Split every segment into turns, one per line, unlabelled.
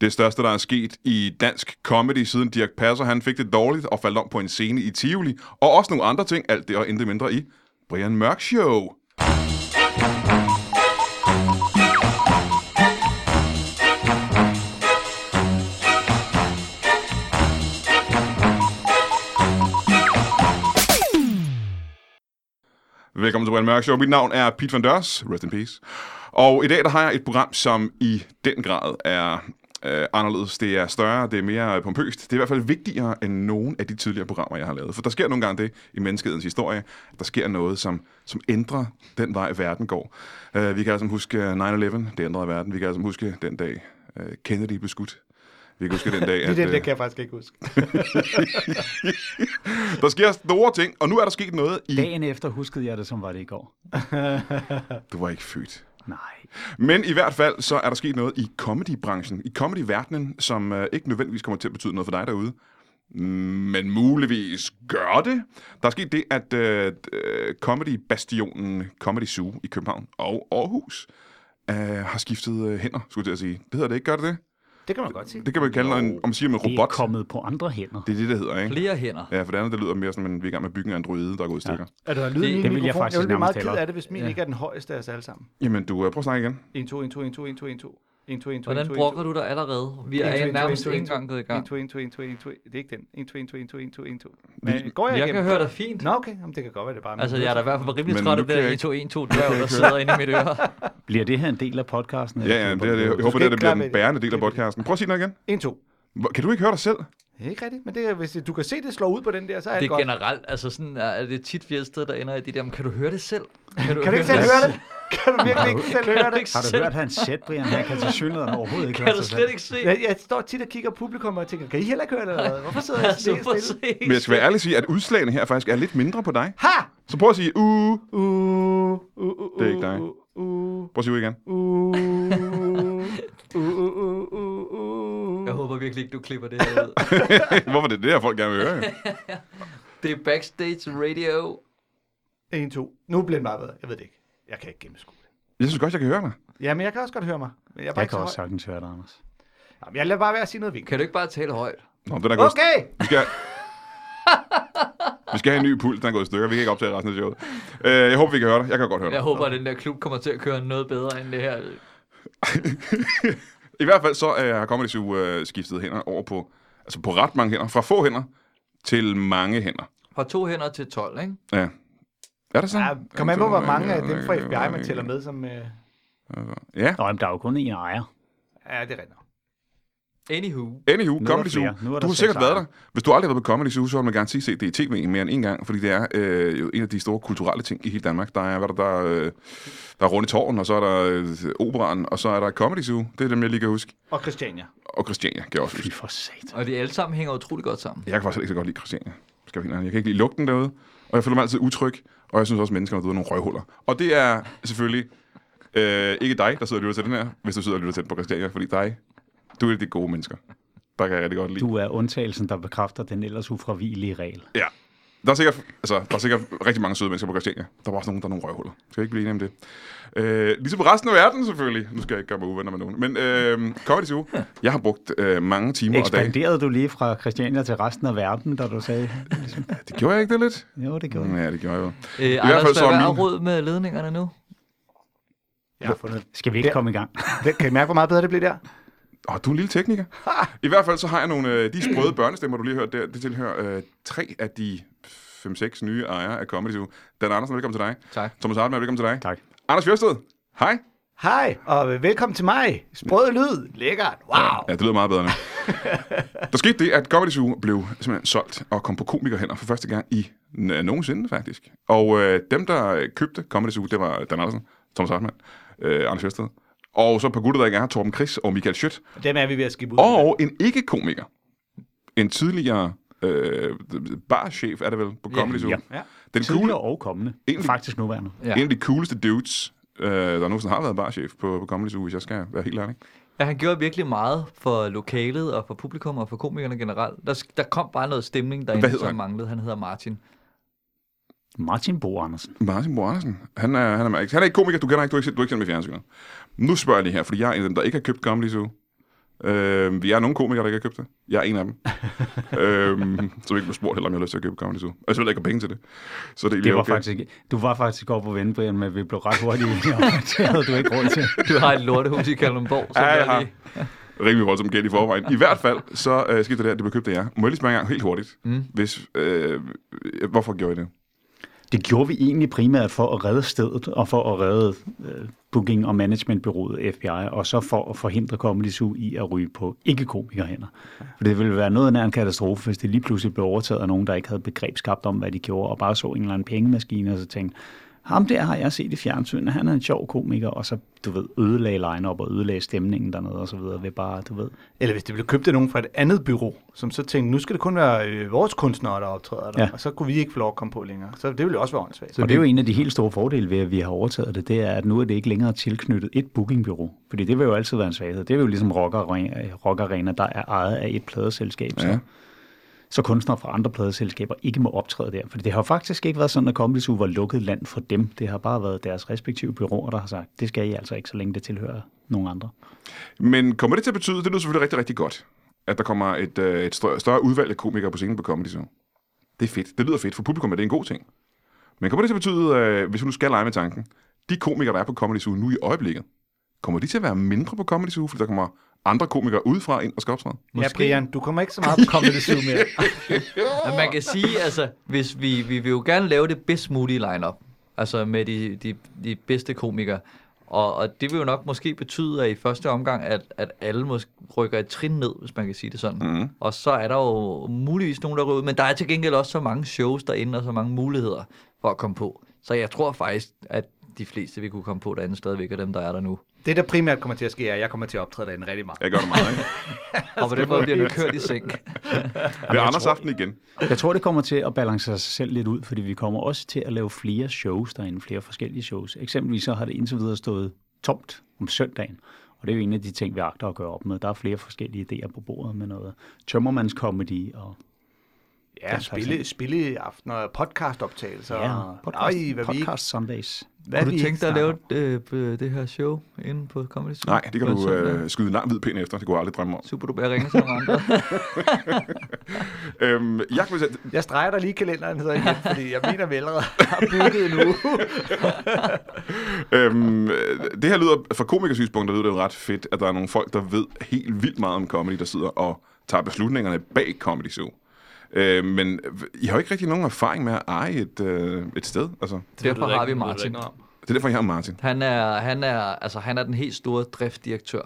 Det største, der er sket i dansk comedy, siden Dirk Passer han fik det dårligt og faldt om på en scene i Tivoli. Og også nogle andre ting, alt det og intet mindre i Brian Mørk Show. Velkommen til Brian Mørk Show. Mit navn er Pete Van Dørs. Rest in peace. Og i dag der har jeg et program, som i den grad er øh, anderledes. Det er større, det er mere øh, pompøst. Det er i hvert fald vigtigere end nogen af de tidligere programmer, jeg har lavet. For der sker nogle gange det i menneskehedens historie. at Der sker noget, som, som ændrer den vej, verden går. Øh, vi kan altså huske øh, 9-11, det ændrede verden. Vi kan altså huske den dag, øh, Kennedy blev skudt. Vi kan huske den dag,
Det,
at...
det,
øh,
det kan jeg faktisk ikke huske.
Der sker store ting, og nu er der sket noget i...
Dagen efter huskede jeg det, som var det i går.
Du var ikke født.
Nej.
Men i hvert fald, så er der sket noget i comedybranchen, i comedyverdenen, som øh, ikke nødvendigvis kommer til at betyde noget for dig derude. Mm, Men muligvis gør det. Der er sket det, at øh, øh, comedybastionen Comedy Zoo i København og Aarhus øh, har skiftet øh, hænder, skulle jeg til at sige. Det hedder det ikke, gør det det?
Det kan man godt sige.
Det kan man kalde en, om siger med
Det er
robot.
kommet på andre hænder.
Det er det, det hedder, ikke?
Flere hænder.
Ja, for det andet, det lyder mere som, at vi er i gang med at bygge en androide, der er gået i stykker.
Er der lyd i min
Det- det
vil jeg
mikrofon?
faktisk
jeg vil blive meget
nærmest tale
ked
om.
af det, hvis min ikke er den højeste af os alle sammen.
Jamen, du, øh, prøv at snakke igen.
1, 2, 1, 2, 1, 2, 1, 2, 1, 2. 1, 2, 1, 2, 1, 2, 1, 2.
Hvordan brokker du dig allerede? Vi er nærmest ikke engang gået i gang.
1, 2, 1, 2, 1, 2, 1, 2. Det er ikke den. 1, 2, 1, 2, 1, 2, 1, 2, 1, 2. Men går jeg
Jeg kan
igennem?
høre dig fint.
Nå, okay. Jamen, det kan godt være, det er bare...
Altså, jeg er da i hvert fald
Men
rimelig træt
nu
af
kan
det der
jeg
1,
ikke-
2, 1, 2 dør, der sidder inde i mit øre.
Bliver det her en del af podcasten? eller
Ja, ja,
skal
det,
vi
er det,
bare-
jeg håber, det, er det bliver
klappe i
den
det.
bærende del af podcasten. Prøv at sige noget igen.
1, 2.
Hvor- Kan du ikke høre dig selv?
Det er ikke rigtigt, men det er, hvis du kan se, det slår ud på den der, så er
Det
det
er
godt.
generelt, altså sådan er er det tit flere steder, der ender i det der, men kan du høre det selv? du,
Kan du ikke selv høre det? Kan du virkelig ikke selv høre
Kan du
det?
ikke
Har du
selv?
hørt hans sæt, Brian? Han kan til synligheden overhovedet ikke
Kan
høre
du
sig
slet
selv.
ikke se?
Jeg, jeg står tit og kigger publikum og tænker, kan I heller ikke høre det eller hvad? Hvorfor sidder jeg
Altså,
så
prøv at
stille?
se.
Men jeg skal være ærlig og sige, at udslagene her faktisk er lidt mindre på dig.
Ha!
Så prøv at sige, uh,
Uh, uh, uh, uh,
Det er ikke dig.
Uh, uh,
prøv at sige uh igen.
Uh, uh, uh, uh, uh.
Jeg håber virkelig ikke, du klipper det her ud.
Hvorfor er det det her, folk gerne vil høre? jo?
Det er backstage radio.
1, 2. Nu bliver det meget bedre. Jeg ved det ikke. Jeg kan ikke gennemskue det.
Jeg synes godt, jeg kan høre dig.
Ja, men jeg kan også godt høre mig. Men jeg, er bare
Jeg
ikke
kan
så
også
høj.
sagtens høre dig, Anders.
Jamen, jeg lader bare være at sige noget vigtigt.
Kan du ikke bare tale højt?
Nå, den er gået.
Okay!
Vi skal... Vi skal have en ny puls, den er gået i stykker. Vi kan ikke optage resten af showet. Øh, jeg håber, vi kan høre dig. Jeg kan godt høre dig.
Jeg håber, at den der klub kommer til at køre noget bedre end det her.
I hvert fald så øh, har Comedy Zoo øh, skiftet hænder over på, altså på ret mange hænder. Fra få hænder til mange hænder.
Fra to hænder til 12, ikke?
Ja. Er det
Ja,
sådan?
kom an på, hvor mange af dem fra FBI, man tæller med, som... Øh...
Ja.
Nå, jamen, der er jo kun én ejer.
Ja, det render.
Anywho.
Anywho,
der
Comedy Zoo.
flere. Nu er
Du
der
har
seks
sikkert været der.
ejere.
Hvis du aldrig har været på Comedy Zoo, så har man gerne set det i tv mere end en gang, fordi det er øh, jo en af de store kulturelle ting i hele Danmark. Der er, hvad der, der, er, øh, der er Runde Tårn, og så er der øh, Operan, og så er der Comedy Zoo. Det er dem, jeg lige kan huske.
Og Christiania.
Og Christiania kan jeg også
Fy
huske.
for satan.
Og de alle sammen hænger utrolig godt sammen.
Jeg kan faktisk ikke så godt lide Christiania. Skal jeg, være helt ærlig. jeg kan ikke lide lugten derude, og jeg føler mig altid utryg, og jeg synes også, at menneskerne derude er nogle røvhuller. Og det er selvfølgelig øh, ikke dig, der sidder og lytter til den her, hvis du sidder og lytter tæt på Christiania, fordi dig, du er et af de gode mennesker. Der kan jeg rigtig godt lide.
Du er undtagelsen, der bekræfter den ellers ufravigelige regel.
Ja. Der er, sikkert, altså, der er sikkert rigtig mange søde mennesker på Christiania. Der er også nogen, der er nogle røvhuller. Skal jeg ikke blive enige om det? Øh, ligesom resten af verden selvfølgelig. Nu skal jeg ikke gøre mig uvenner med nogen. Men øh, Comedy Zoo, jeg har brugt øh, mange timer og dage.
Ekspanderede du lige fra Christiania til resten af verden, da du sagde,
Det gjorde jeg ikke det lidt? Mm,
jo, det gjorde jeg.
Ja, det gjorde jeg jo.
Øh,
hvert fald
Anders,
så er
hvad er
min-
råd med ledningerne nu?
Jeg har fundet
Mm.
Skal vi ikke
Ja.
komme i gang?
det. Kan I mærke, hvor meget bedre det blev der?
Åh, du er en lille tekniker. I hvert fald så har jeg nogle... Øh, de sprøde børnestemmer, du lige hørte der, det tilhører øh, tre af de 5-6 nye ejere af Comedy Zoo. Dan Andersen, velkommen til dig.
Tak.
Thomas Hartmann, velkommen til dig.
Tak.
Anders Fjørsted, hej.
Hej, og velkommen til mig. Sprød lyd. Lækkert. Wow.
Ja, det lyder meget bedre nu. der skete det, at Comedy Zoo blev simpelthen solgt og kom på komikerhænder for første gang i n- nogensinde, faktisk. Og øh, dem, der købte Comedy Zoo, det var Dan Andersen, Thomas Hartmann, øh, Anders Fjørsted, og så et par gutter, der ikke er her, Torben Chris og Michael Schødt,
Dem er vi ved at skibbe ud.
og en ikke-komiker, en tidligere øh, barchef, er det vel, på Comedy Zoo.
ja.
Ja.
Den cool,
Tidligere og kommende.
Egentlig-
Faktisk nuværende.
Ja.
en af de cooleste dudes, øh, der nogensinde har været barchef på, på Comedy Zoo, hvis jeg skal være helt ærlig.
Ja, han gjorde virkelig meget for lokalet og for publikum og for komikerne generelt. Der, der kom bare noget stemning
Hvad
derinde,
hedder
som
han?
manglede. Han hedder Martin.
Martin Bo Andersen.
Martin Bo Andersen. Han er, han, er, han er ikke komiker, du kender ikke, du har ikke, set- du har ikke set ham i fjernsynet. Nu spørger jeg lige her, fordi jeg er en af dem, der ikke har købt Comedy Zoo. Øh, vi er nogle komikere, der ikke har købt det. Jeg er en af dem. øh, så vi ikke blev spurgt heller, om jeg har lyst til at købe Comedy Zoo. Og selvfølgelig ikke har penge til det. Så det, er egentlig
Det var
okay.
faktisk, ikke- du var faktisk oppe på vende, Brian, men vi blev ret hurtigt enige om, at det havde du ikke råd til.
Du har et lortehus i Kalundborg, som
Ja, jeg
jeg
har.
lige...
rimelig voldsomt gæld i forvejen. I hvert fald, så øh, skete det der, det blev købt af jer. Må jeg lige spørge en gang helt hurtigt? Mm. Hvis, øh, hvorfor gjorde I det?
Det gjorde vi egentlig primært for at redde stedet, og for at redde øh, booking- og managementbyrået FBI, og så for at forhindre Comedy Zoo i at ryge på ikke-komikerhænder. For det ville være noget nær en katastrofe, hvis det lige pludselig blev overtaget af nogen, der ikke havde begreb skabt om, hvad de gjorde, og bare så en eller anden pengemaskine, og så tænkte, ham der har jeg set i fjernsynet, han er en sjov komiker, og så, du ved, ødelagde line og ødelagde stemningen dernede, og så videre, ved bare, du ved,
Eller hvis det blev købt af nogen fra et andet byrå, som så tænkte, nu skal det kun være øh, vores kunstnere, der optræder der,
Ja.
ja. og så kunne vi ikke få lov at komme på længere. Så det ville også være åndssvagt.
Så og det er jo en af de helt store fordele ved, at vi har overtaget det, det er, at nu er det ikke længere tilknyttet et bookingbyrå. Fordi det vil jo altid være en svaghed. Det vil jo ligesom rockerarenaer, rockarena, der er ejet af et pladeselskab. Ja.
Ja.
Så, så kunstnere fra andre pladeselskaber ikke må optræde der. For det har jo faktisk ikke været sådan, at Comedy Zoo var lukket land for dem. Det har bare været deres respektive byråer, der har sagt, det skal I altså ikke, så længe det tilhører nogen andre.
Men kommer det til at betyde, det lyder selvfølgelig rigtig, rigtig godt, at der kommer et, øh, et større, større udvalg af komikere på scenen på Comedy Zoo. Det er fedt. Det lyder fedt. For publikum er det en god ting. Men kommer det til at betyde, øh, hvis du nu skal lege med tanken, de komikere, der er på Comedy Zoo nu i øjeblikket, kommer de til at være mindre på Comedy Zoo, fordi der kommer andre komikere udefra ind og skal optræde?
Ja,
Måske.
Brian, du kommer ikke så meget på Comedy Zoo mere.
Men man kan sige, altså, hvis vi, vi vil jo gerne lave det bedst mulige lineup, altså med de, de, de bedste komikere. Og, og det vil jo nok måske betyde, at i første omgang, at, at alle måske rykker et trin ned, hvis man kan sige det sådan. Mm. Og så er der jo muligvis nogen, der ryger ud, men der er til gengæld også så mange shows derinde, og så mange muligheder for at komme på. Så jeg tror faktisk, at de fleste, vi kunne komme på derinde, stadigvæk er dem, der er der nu.
Det, der primært kommer til at ske, er, at jeg kommer til at optræde derinde rigtig meget.
Jeg gør det meget, ikke?
Og på den måde bliver den kørt i sænk.
Det er Anders aften igen.
Jeg tror, det kommer til at balancere sig selv lidt ud, fordi vi kommer også til at lave flere shows derinde, flere forskellige shows. Eksempelvis så har det indtil videre stået tomt om søndagen, og det er jo en af de ting, vi agter at gøre op med. Der er flere forskellige idéer på bordet med noget tømmermandskomedy og
Ja, spille, spille aftener, og podcastoptagelser.
ja,
og-
podcast,
Ej, Ah, hvad vi ikke,
podcast Sundays.
hvad
Kunne
vi
du
ikke
tænke dig at
snakker
lave øh, øh, det her show inde på Comedy Zoo?
Nej, det kan
På en
du
søndag?
øh, skyde en lang hvid pind efter. Det kunne jeg aldrig drømme om.
Super, du bare ringer til nogle andre.
Øhm, jeg kan fortælle,
om. Jeg streger dig lige kalenderen, hedder igen, fordi jeg mener, vi allerede har booket en uge.
Øhm, øh, det her lyder, fra komikersynspunkt, der lyder det jo ret fedt, at der er nogle folk, der ved helt vildt meget om comedy, der sidder og tager beslutningerne bag Comedy Zoo. Øh, men I har jo ikke rigtig nogen erfaring med at eje et, øh, et sted. Altså,
Derfor har vi Martin.
det er derfor, jeg har Martin.
Han er, han, er, altså, han er den helt store driftdirektør,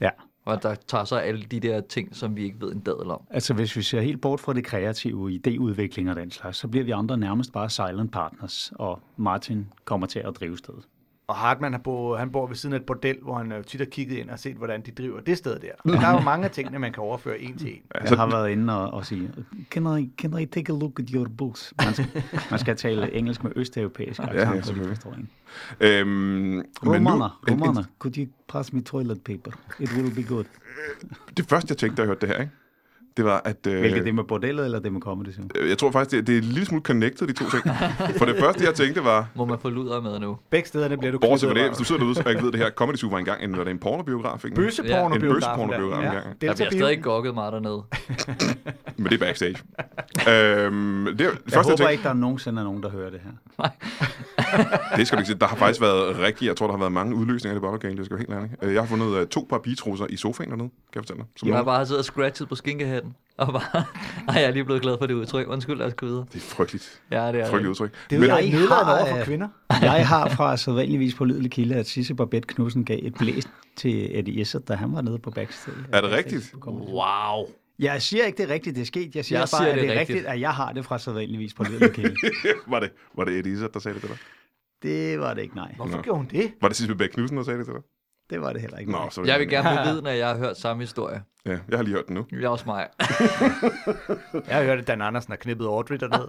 Ja.
og der tager sig alle de der ting, som vi ikke ved en dadel om.
Altså hvis vi ser helt bort fra det kreative, idéudvikling og den slags, så bliver vi andre nærmest bare silent partners, og Martin kommer til at drive stedet.
Og Hartmann, han bor, han bor ved siden af et bordel, hvor han øh, tit har kigget ind og set, hvordan de driver det sted der. Og der er jo mange af tingene, man kan overføre en til en.
Jeg har været inde og, og sige, can I, can I take a look at your books? Man skal, man skal tale engelsk med østeuropæisk accent,
ja,
ja, ja,
selvfølgelig.
forstår ikke.
Øhm,
Romana,
en, en,
Romana, could you pass me toilet paper? It will be good.
det første, jeg tænkte, da jeg hørte det her, ikke? det var, at... Øh,
Hvilket det er med bordellet, eller det med comedy show?
øh, jeg tror faktisk, det, det er en lille smule connected, de to ting. For det første, jeg tænkte, var,
Må man få luder med nu?
Begge stederne bliver du
bortset fra
klippet,
det, hvis du sidder derude, og ikke ved det her, Comedy Zoo var engang en, var det en pornobiograf, ikke?
og- Bøseporno
Ja, en
blev
bøsepornobiograf engang.
Der bliver stadig gokket meget dernede.
Men det er backstage. øhm, det, det
Jeg
første,
håber
jeg
ikke, der er nogensinde er nogen, der hører det her.
Det skal du ikke sige. Der har faktisk været rigtig, jeg tror, der har været mange udløsninger i det bottle det skal jeg være helt ærlig. Øh, Jeg har fundet øh, to par bitrusser i sofaen dernede, kan jeg fortælle dig. Som
Jeg
ja.
har bare siddet og scratchet på skinkehatten. Og bare, Ej, jeg er lige blevet glad for det udtryk. Undskyld, lad os gå videre.
Det er frygteligt.
Ja, det er
Frygteligt
det.
udtryk.
Det er jo
Men,
ikke nedladende
har,
over for
øh,
kvinder.
Jeg har fra sædvanligvis på lydelig kilde, at Sisse Barbette Knudsen gav et blæst til Eddie Izzard, da han var nede på backstage.
er det rigtigt?
Wow.
Jeg siger ikke, det er rigtigt, det er sket. Jeg siger
Jeg
bare,
siger,
at
det er
det er
rigtigt.
rigtigt. rigtigt, at jeg har det fra sædvanligvis på lydelig kilde.
var det, var det Eddie Izzard, der sagde det til dig?
det var det ikke, nej.
Hvorfor gjorde hun det?
Var det Sisse Bæk Knudsen, der sagde det til dig?
Det var det heller ikke.
Nå, så
Jeg vil gerne bevidne, at jeg har hørt samme historie.
Ja, jeg har lige hørt den nu.
Jeg er også mig.
Jeg har hørt, at Dan Andersen har knippet Audrey dernede.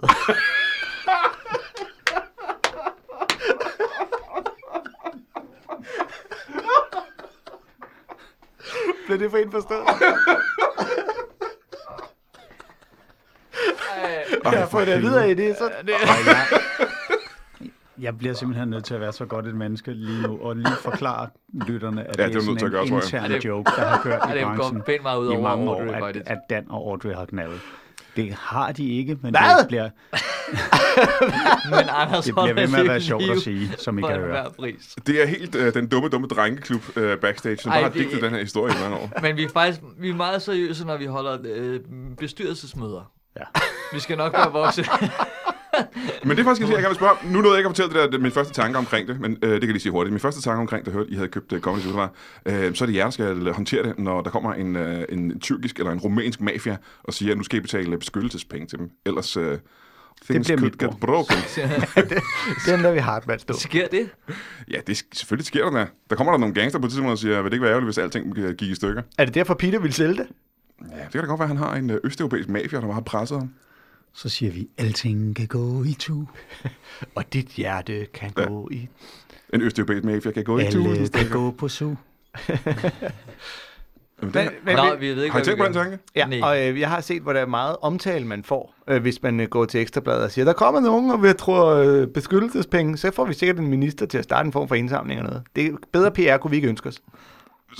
Blev det for indforstået?
Ej,
Jeg har fået det videre i det, så...
Ej, jeg-
Jeg bliver simpelthen nødt til at være så godt et menneske lige nu, og lige forklare lytterne, at
Ja,
det
det
er
er du nødt
sådan
til at
en
gøre, tror jeg.
intern
Ja, det-
joke, der har kørt
Ja,
i
det går
branchen
pænt meget ud
i
over
mange år,
Audrey,
at,
faktisk.
at Dan og Audrey har knaldet. Det har de ikke, men
Hvad?
det bliver,
Men Anders
det bliver ved med at
holder
være
sit
sjovt
liv
at sige, som I
for
kan høre.
enhver pris.
Det er helt øh, den dumme, dumme drengeklub øh, backstage, som
Ej,
bare har
det-
digtet den her historie i mange år.
Men vi er faktisk vi er meget seriøse, når vi holder øh, bestyrelsesmøder.
Ja.
Vi skal nok være voksne.
Men det er faktisk, jeg siger, jeg gerne vil spørge. om. Nu nåede jeg ikke at fortælle det der, det- min første tanke omkring det, men øh, det kan jeg lige sige hurtigt. Min første tanke omkring, da jeg hørte, I havde købt uh, Comedy Zoo, var, øh, så er det jer, der skal håndtere det, når der kommer en, øh, en tyrkisk eller en rumænsk mafia og siger, at nu skal I betale beskyttelsespenge til dem. Ellers... Øh, Things
bliver
could
mit
get broken.
Den der vi Hartmann stå.
Sker det?
Ja, det, sk- selvfølgelig sker der da. Der kommer der nogle gangster på et tidspunkt og siger, vil det ikke være ærgerligt, hvis alting øh, gik i stykker?
Er det derfor, Peter ville sælge det?
Ja, det kan da godt være, at han har en øh, østeuropæisk mafia, der bare har presset ham.
Så siger vi, alting kan gå i tu.
Og dit hjerte kan
Ja.
gå i.
En østeuropæisk mafia kan gå i
Alle
tusind
kan
stykker.
gå på su.
Jamen, det
Men,
er-
men,
Nå,
men,
vi ved ikke,
Har I
hvad
tænkt
vi
på den
gør.
tanke?
ja,
Nej.
og øh, jeg har set, hvor der er meget omtale, man får, øh, hvis man øh, går til Ekstrabladet og siger, der kommer nogen, og vi tror øh, beskyttelsespenge, så får vi sikkert en minister til at starte en form for indsamling eller noget. Det er bedre PR, kunne vi ikke ønske os.
Så-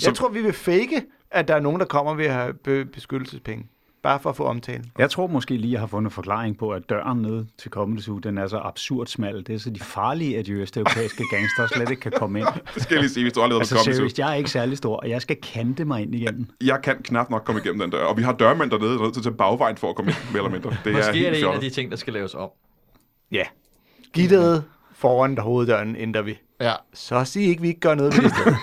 Jeg tror, vi vil fake, at der er nogen, der kommer ved at have be- beskyttelsespenge. Bare for at få omtale.
Jeg tror måske lige, jeg har fundet forklaring på, at døren ned til Comedy Zoo, den er så absurd smal. Det er så de farlige, at de østeuropæiske gangster slet ikke kan komme ind.
Det skal jeg lige sige, hvis du aldrig har været
Altså
på Comedy Zoo.
seriøst, jeg er ikke særlig stor, og jeg skal kante mig ind igen.
jeg kan knap nok komme igennem den dør. Og vi har dørmænd dernede, der er nødt til at tage bagvejen for at komme ind, mere eller mindre. Det er
Måske er
helt
det en af
fjollet.
de ting, der skal laves om.
Ja. Gitteret foran der hoveddøren ændrer vi.
Ja.
Så sig ikke, vi ikke gør noget ved det.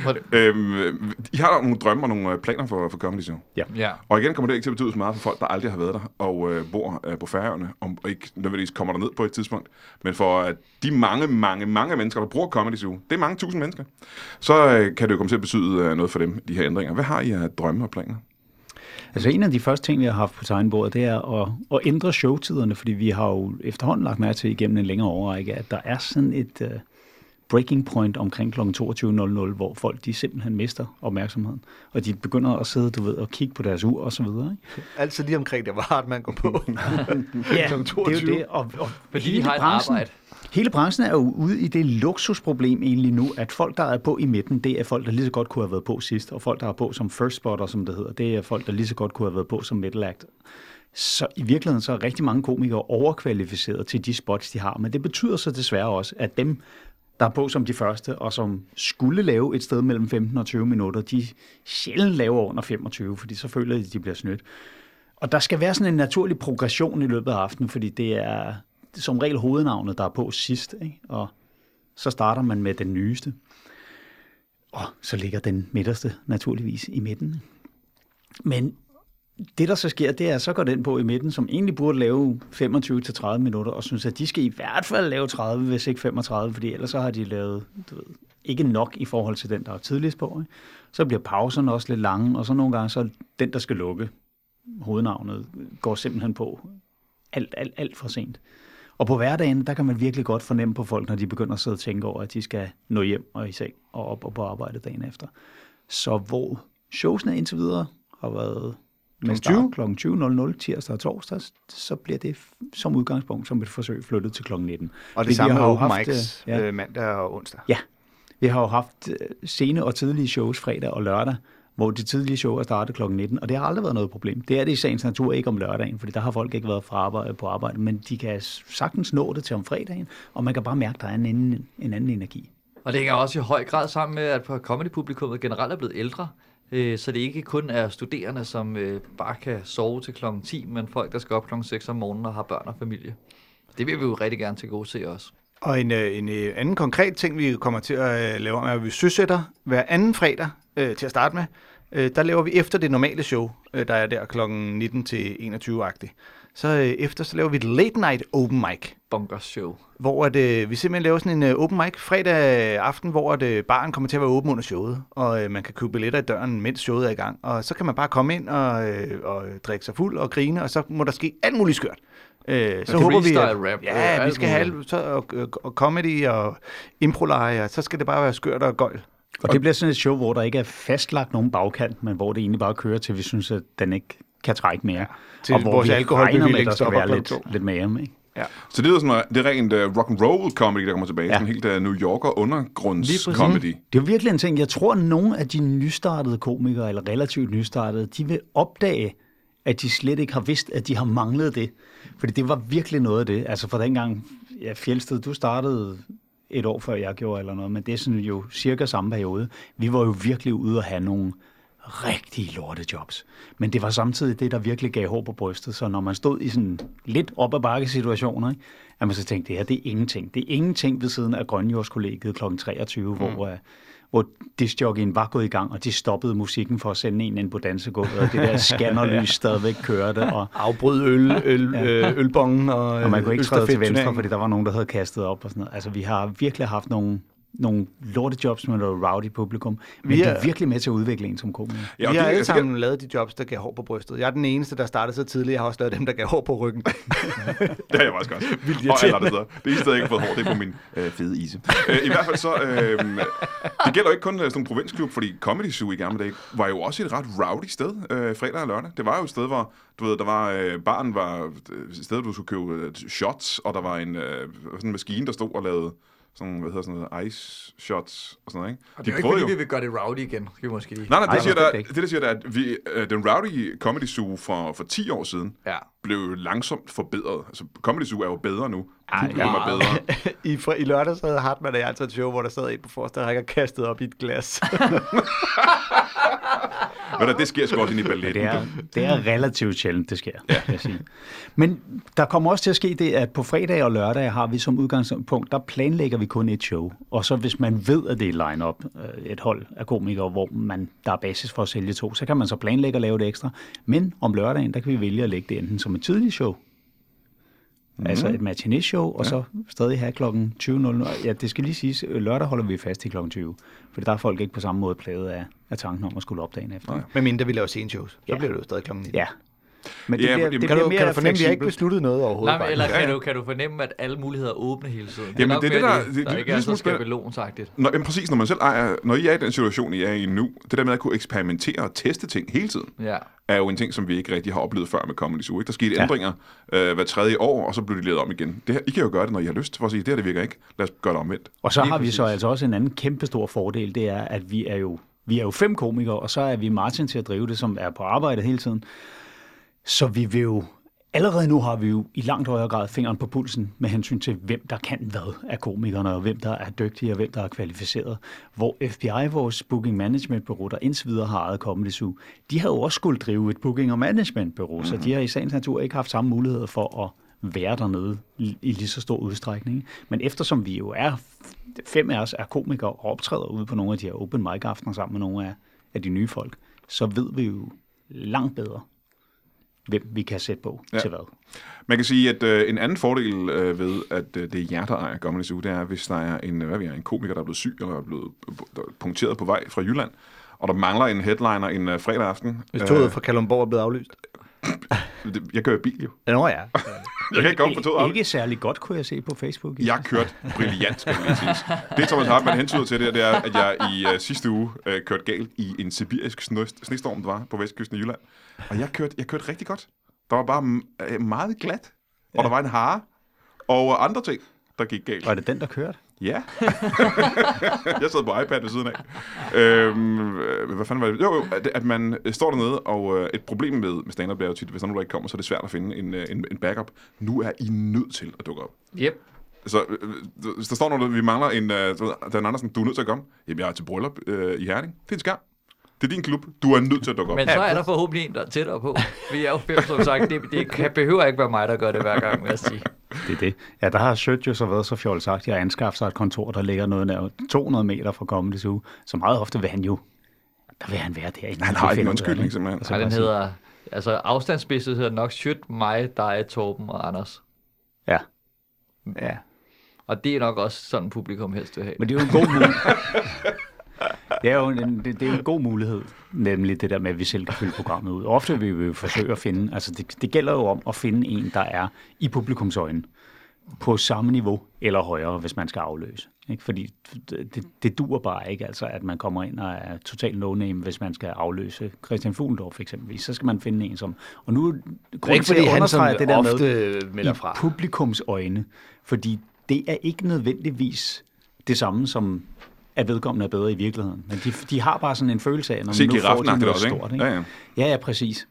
sted.
Øhm, I har nogle drømme og nogle øh, planer for, for Comedy Zoo.
ja.
Og igen kommer det ikke til at betyde så meget for folk, der aldrig har været der og øh, bor øh, på færøerne, om- og ikke nødvendigvis kommer der ned på et tidspunkt. Men for øh, de mange, mange, mange mennesker, der bruger Comedy Zoo, det er mange tusind mennesker, så øh, kan det jo komme til at betyde øh, noget for dem, de her ændringer. Hvad har I af drømme og planer?
Altså en af de første ting, jeg har haft på tegnbordet, det er at, at ændre showtiderne, fordi vi har jo efterhånden lagt mærke til igennem en længere overrække, at der er sådan et uh, breaking point omkring kl. 22.00, hvor folk de simpelthen mister opmærksomheden, og de begynder at sidde, du ved, og kigge på deres ur og så videre. Ikke?
Altid lige omkring det, hvor hardt man går på.
Ja,
Klokken
det er
22.
jo det. Og, og
Fordi
hele
de har et
branchen,
arbejde.
Hele branchen er jo ude i det luksusproblem egentlig nu, at folk, der er på i midten, det er folk, der lige så godt kunne have været på sidst, og folk, der er på som first spotter, som det hedder, det er folk, der lige så godt kunne have været på som middle act. Så i virkeligheden så er rigtig mange komikere overkvalificeret til de spots, de har, men det betyder så desværre også, at dem, der er på som de første, og som skulle lave et sted mellem 15 og 20 minutter, de sjældent laver under 25, fordi så føler de, at de bliver snydt. Og der skal være sådan en naturlig progression i løbet af aftenen, fordi det er som regel hovednavnet, der er på sidst, ikke? og så starter man med den nyeste. Og så ligger den midterste naturligvis i midten. Men det, der så sker, det er, at så går den på i midten, som egentlig burde lave 25-30 minutter, og synes, at de skal i hvert fald lave 30, hvis ikke 35, fordi ellers så har de lavet du ved, ikke nok i forhold til den, der er tidligst på. Ikke? Så bliver pauserne også lidt lange, og så nogle gange, så er den, der skal lukke, hovednavnet, går simpelthen på alt, alt, alt for sent. Og på hverdagen, der kan man virkelig godt fornemme på folk, når de begynder at sidde og tænke over, at de skal nå hjem og i seng og op og på arbejde dagen efter. Så hvor showsene indtil videre har været med start kl. 20.00 tirsdag og torsdag, så bliver det f- som udgangspunkt som et forsøg flyttet til kl. 19.
Og
Fordi vi
det samme
har
med
jo
open
haft,
mics
øh, ja.
ja. mandag og onsdag.
Ja, vi har jo haft øh, sene og tidlige shows fredag og lørdag, hvor de tidlige show er startet kl. 19, og det har aldrig været noget problem. Det er det i sagens natur ikke om lørdagen, fordi der har folk ikke været fra arbejde, på arbejde, men de kan s- sagtens nå det til om fredagen, og man kan bare mærke, at der er en anden, en anden energi.
Og det hænger også i høj grad sammen med, at comedy-publikummet generelt er blevet ældre. øh, Så det ikke kun er studerende, som øh, bare kan sove til klokken 10, men folk, der skal op klokken 6 om morgenen og har børn og familie. Det vil vi jo rigtig gerne til gode se også.
Og en, øh, en øh, anden konkret ting, vi kommer til at øh, lave om, er, at vi søsætter hver anden fredag øh, til at starte med. Øh, der laver vi efter det normale show, øh, der er der kl. 19 til 21-agtigt. Så øh, efter, så laver vi et late night open mic,
Bunkers show.
hvor at, øh, vi simpelthen laver sådan en øh, open mic fredag aften, hvor at, øh, baren kommer til at være åben under showet, og øh, man kan købe billetter i døren, mens showet er i gang. Og så kan man bare komme ind og, øh, og øh, drikke sig fuld og grine, og så må der ske alt muligt skørt. Øh, så
det er
håber vi,
freestyle rap, øh,
ja, vi
alt
skal have
muligt.
alt- så, og, og, og comedy og improleje, og så skal det bare være skørt og gøjl.
Og det bliver sådan et show, hvor der ikke er fastlagt nogen bagkant, men hvor det egentlig bare kører til, vi synes, at den ikke kan trække mere.
til
og hvor
vores
vi regner med, at
alkoholbevilling
der skal
stopper
være
klokken
lidt,
to.
lidt mere. Ikke?
Ja.
Så det er sådan noget, det er rent uh, rock and roll comedy, der kommer tilbage. Ja.
Ja.
Sådan helt uh, New Yorker
Lige
undergrunds
præcis.
comedy.
Det er jo virkelig en ting. Jeg tror, at nogle af de nystartede komikere, eller relativt nystartede, de vil opdage, at de slet ikke har vidst, at de har manglet det. Fordi det var virkelig noget af det. Altså fra dengang, ja, Fjelsted, du startede et år før jeg gjorde eller noget, men det er sådan jo cirka samme periode. Vi var jo virkelig ude at have nogle rigtige lortejobs. Men det var samtidig det, der virkelig gav håb på brystet. Så når man stod i sådan lidt op ad bakke situationer, ikke? at man så tænkte, det her, det er ingenting. Det er ingenting ved siden af Grønjordskollegiet kl. 23, mm. hvor, øh, hvor discjockeyen var gået i gang, og de stoppede musikken for at sende en ind på dansegulvet, og det der scannerlys stadigvæk kørte, og,
Afbrød øl, øl, ja. ølbongen og,
og øh, man kunne ikke træde til venstre,
Østerfældsturneringen.
fordi der var nogen, der havde kastet op og sådan noget. Altså, vi har virkelig haft nogle, nogle lortejobs med noget rowdy publikum, men
Vi
vi er...
er-
de er virkelig med til at udvikle en som komiker.
Ja, og
vi har
det-
alle
altså,
sammen lavet de jobs, der gav hår på brystet. Jeg er den eneste, der startede så tidligt. Jeg har også lavet dem, der gav hår på ryggen.
Det har jeg faktisk også. Vildt og alle andre steder. Det eneste, jeg ikke har fået hår, det er på min øh, fede ise. Øh, I hvert fald så, øh, det gælder jo ikke kun øh, sådan nogle provinsklub, fordi Comedy Zoo i gamle dage var jo også et ret rowdy sted, øh, fredag og lørdag. Det var jo et sted, hvor, du ved, der var, øh, baren var øh, et sted, du skulle købe øh, shots, og der var en, øh, sådan en maskine, der stod og lavede sådan, hvad hedder sådan noget, ice shots og sådan noget, ikke?
Og det er jo ikke,
prøvede
fordi vi vil gøre det rowdy igen, skal vi måske lige.
Nej, nej, det,
Nej,
siger,
bestemt
der,
ikke.
det der siger, der, at vi, øh, den rowdy Comedy Zoo for, for 10 år siden
Ja.
blev langsomt forbedret. Altså, Comedy Zoo er jo bedre nu.
Ej,
Publikum er
meget.
bedre.
I, fr- I lørdags havde Hartmann og jeg altså et show, hvor der sad en på forreste række og kastede op i et glas.
Ved du, det sker sgu også ind i balletten.
Det er, det er relativt sjældent, det sker, vil jeg sige. Men der kommer også til at ske det, at på fredag og lørdag har vi som udgangspunkt, der planlægger vi kun et show. Og så hvis man ved, at det er line-up, øh, et hold af komikere, hvor man, der er basis for at sælge to, så kan man så planlægge at lave det ekstra. Men om lørdagen, der kan vi vælge at lægge det enten som et tidligt show, Mm. Altså et matinee-show, og ja. så stadig have klokken 20.00. Ja, det skal lige siges, øh, lørdag holder vi fast til klokken 20, for der er folk ikke på samme måde plaget af, af tanken om at skulle op dagen efter. Nej.
Men mindre vi laver scene shows, så
Ja.
bliver det jo stadig klokken 19.
Ja. Men
Ja, for-
Kan, du,
bliver
kan
mere
du fornemme, at vi har ikke
fleksibelt.
besluttet noget overhovedet?
Nej, men,
Bang?
eller kan, du, kan du fornemme, at alle muligheder er åbne hele tiden?
Jamen,
nok
det er det,
mere
der- det-
der,
det-
ikke
det-
er
det-
så
det-
skabelonsagtigt.
Nå, jamen, præcis, når man selv ejer, når I er i den situation, I er i nu, det der med at kunne eksperimentere og teste ting hele tiden,
Ja.
er jo en ting, som vi ikke rigtig har oplevet før med Comedy Zoo. Ikke? Der skete ja. ændringer øh, hver tredje år, og så blev de lavet om igen. Det her, I kan jo gøre det, når I har lyst, for at sige, det her det virker ikke. Lad os gøre det omvendt.
Og så
Lige
har vi så
præcis.
altså også en anden kæmpe stor fordel, det er, at vi er jo, vi er jo fem komikere, og så er vi Martin til at drive det, som er på arbejde hele tiden. Så vi vil jo, allerede nu har vi jo i langt højere grad fingeren på pulsen med hensyn til, hvem der kan hvad af komikerne, og hvem der er dygtige, og hvem der er kvalificeret. Hvor FBI, vores booking management bureau, der indtil videre har ejet Comedy Zoo, de har jo også skulle drive et booking og management bureau, mm-hmm. så de har i sagens natur ikke haft samme muligheder for at være dernede i i lige så stor udstrækning. Men eftersom vi jo er, fem af os er komikere og optræder ude på nogle af de her open mic aftener sammen med nogle af, af de nye folk, så ved vi jo langt bedre, hvem vi kan sætte på
Ja.
ja. til hvad.
Man kan sige, at øh, en anden fordel øh, ved, at øh, det er jer, der ejer Comedy Zoo, det er, hvis der er en, øh, hvad ved jeg, en komiker, der er blevet syg, eller er blevet øh, der er punkteret på vej fra Jylland, og der mangler en headliner en øh, fredag aften.
Hvis toget fra Kalundborg er blevet aflyst.
Øh, det- jeg kører i bil jo.
Nå ja.
Jeg kan ikke komme på toget.
Ikke særlig godt, kunne jeg se på Facebook.
Jeg kørte brilliant, skal jeg lige sige. Det, Thomas Hartmann hentyder til det, det er, at jeg i øh, sidste uge øh, kørte galt i en sibirisk snøst- snestorm, der var på vestkysten i Jylland. Og jeg kørte, jeg kørte rigtig godt. Der var bare mm, øh, meget glat, og der var en hare, og øh, andre ting, der gik galt.
Var det den, der kørte?
Ja. jeg sad på iPad ved siden af. Øhm, øh, hvad fanden var det? Jo, jo, at, at man øh, står dernede, og øh, et problem med, med stand-up er jo tit, hvis der er nogen, der ikke kommer, så er det svært at finde en, øh, en, en backup. Nu er I nødt til at dukke op.
Yep.
Så øh, øh, hvis der står nogen, der- vi mangler en, øh, du ved, Dan Andersen, du er nødt til at komme. Jamen, jeg er til bryllup øh, i Herning. Det er en skam. Det er din klub. Du er nødt til at dukke op.
Men så er der forhåbentlig en, der er tættere på. Vi er jo fem, som sagt. Det, det kan, behøver ikke være mig, der gør det hver gang, vil jeg sige.
Det er det. Ja, der har Sødt jo så været så fjol sagt, at jeg anskaffer sig et kontor, der ligger noget nær 200 meter fra Comedy Zoo. Så meget ofte vil han jo, der vil han være derinde.
Han har ikke en undskyldning, simpelthen.
Nej, den
præcis.
hedder... Altså, afstandsspidset hedder nok Shit, mig, dig, Torben og Anders.
Ja,
ja.
Og det er nok også sådan, publikum helst vil have.
men det er jo en god mulighed. Det er, jo en, det, det er jo en god mulighed, nemlig det der med, at vi selv kan fylde programmet ud. Ofte vil vi jo forsøge at finde, altså det, det gælder jo om at finde en, der er i publikums øjne på samme niveau eller højere, hvis man skal afløse. Ikke? Fordi det, det duer bare ikke, altså, at man kommer ind og er total no-name, hvis man skal afløse Christian Fuglendorf eksempelvis. Så skal man finde en som... Og nu
Det er ikke, fordi han som
det der med,
ofte melder
i
fra.
publikums øjne, fordi det er ikke nødvendigvis det samme som at vedkommende er bedre i virkeligheden. Men de, de har bare sådan en følelse af, når
Se
nu får de
giraffen
noget
også, ikke?
stort. Ikke?
Ja, ja.
ja, ja, præcis.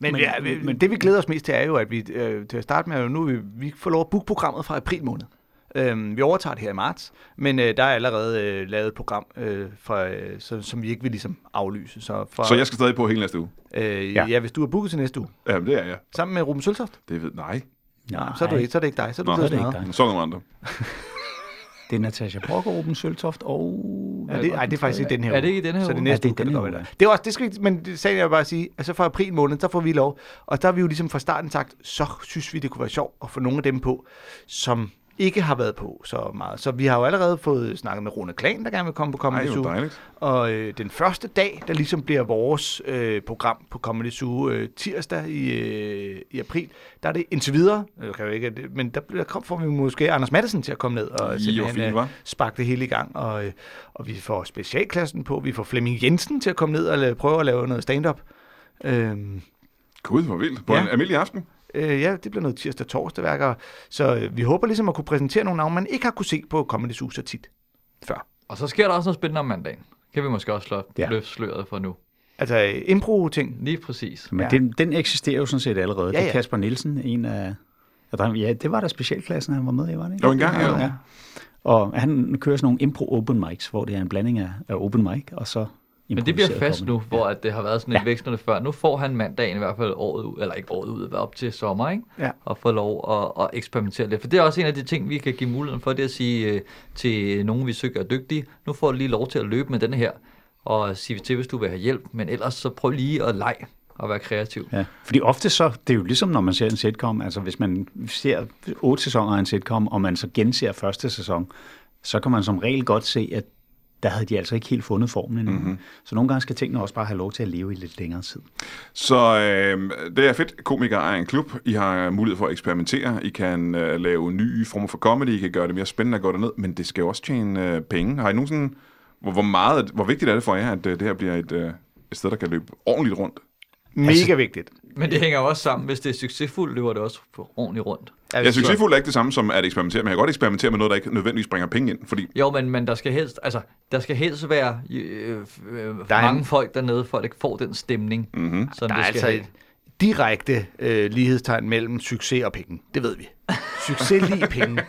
Men,
Men-
men, ja, vi- men det vi glæder os mest til er jo, at vi øh, til at starte med, nu vi, vi får lov at booke programmet fra april måned. Øhm, vi overtager det her i marts, men øh, der er allerede øh, lavet et program, øh, fra, øh, som, som vi ikke vil ligesom aflyse. Så, fra,
Så jeg skal stadig på hele næste uge.
øh,
Ja.
ja. ja, hvis du er booket til næste uge,
Jamen, det er jeg.
sammen med Ruben Søltoft,
Det ved... Nej.
Nej,
så er, du, ikke- så er det ikke dig, så er du
Nå,
blevet
så er det ikke
smadret.
dig.
Så er der nogle andre.
Det er Natasha Brock og Ruben Søltoft og...
Ja, det, ej, det er faktisk ikke den her
Er
uge.
det ikke i den her
Så det
uge?
Ja, det
næste
er
uge kan
den
det
her
godt være
uge,
der. Det er også, det skal, vi- men det- sagen er jo bare at sige, altså fra april måned, der får vi lov. Og der er vi jo ligesom fra starten sagt, så synes vi, det kunne være sjovt at få nogle af dem på, som ikke har været på så meget. Så vi har jo allerede fået snakket med Rune Klan, der gerne vil komme på
Nej,
Comedy
det er jo
Zoo.
dejligt.
Og øh, den første dag, der ligesom bliver vores øh, program på Comedy Zoo, øh, tirsdag i, øh, i april, der er det indtil videre, øh, kan jo ikke, det- men der, bliver, kom, får vi måske Anders Madsen til at komme ned og simpelthen,
fint,
øh,
hva'?
sparke det hele i gang. Og, øh, og vi får specialklassen på, vi får Flemming Jensen til at komme ned og la- prøve at lave noget stand-up. Øhm,
Gud, hvor vildt. På
Ja.
en almindelig aften.
øh, ja, det bliver noget tirsdag-torsdag værker. Så øh, vi håber ligesom at kunne præsentere nogle navne, man ikke har kunne se på Comedy Zoo så tit før.
Og så sker der også noget spændende om mandagen. Kan vi måske også slå
Ja.
ja. løfte sløret for nu.
Altså øh, impro-ting.
Lige præcis.
Men ja.
Ja.
den, den eksisterer jo sådan set allerede. Ja,
Ja,
ja. Det er
ja.
Kasper Nielsen, en af... Ja, der- Ja, det var da specialklassen, han var med i, var det ikke?
Jo, engang, ja.
ja. Og han kører sådan nogle impro-open mics, hvor det er en blanding af, af open mic, og så
Men det bliver fast nu, hvor at det har været sådan lidt
Ja.
ja. vekslende før. Nu får han mandagen i hvert fald året ud, eller ikke året ud, men op til sommer, ikke?
Ja.
Og få lov at, at eksperimentere lidt. For det er også en af de ting, vi kan give muligheden for, det er at sige øh, til nogen, vi søger er dygtige, nu får du lige lov til at løbe med den her, og sige til, hvis du vil have hjælp. Men ellers så prøv lige at lege og være kreativ.
Ja, fordi ofte så, det er jo ligesom når man ser en sitcom, altså hvis man ser otte sæsoner af en sitcom, og man så genser første sæson, så kan man som regel godt se, at der havde de altså ikke helt fundet formen endnu. Mm-hmm. Så nogle gange skal tingene også bare have lov til at leve i lidt længere tid.
Så øh, det er fedt. Komikere er en klub. I har mulighed for at eksperimentere. I kan øh, lave nye former for comedy. I kan gøre det mere spændende at gå derned. Men det skal jo også tjene øh, penge. Har I nogensinde... Hvor, hvor, meget, hvor vigtigt er det for jer, at øh, det her bliver et, øh, et sted, der kan løbe ordentligt rundt?
Mega vigtigt.
Men det hænger jo også sammen. Hvis det er succesfuldt, løber det også ordentligt rundt.
Altså,
Ja, succesfuldt er ikke det samme som at eksperimentere, men jeg kan godt eksperimentere med noget, der ikke nødvendigvis bringer penge ind, fordi
Jo, men, men der skal helst, altså, der skal helst være øh, øh,
Der er
mange
en-
folk dernede, for at det får den stemning, mm-hmm. som
Der er
det skal
altså
have.
et direkte øh, lighedstegn mellem succes og penge. Det ved vi. Succes lige penge.
Nej,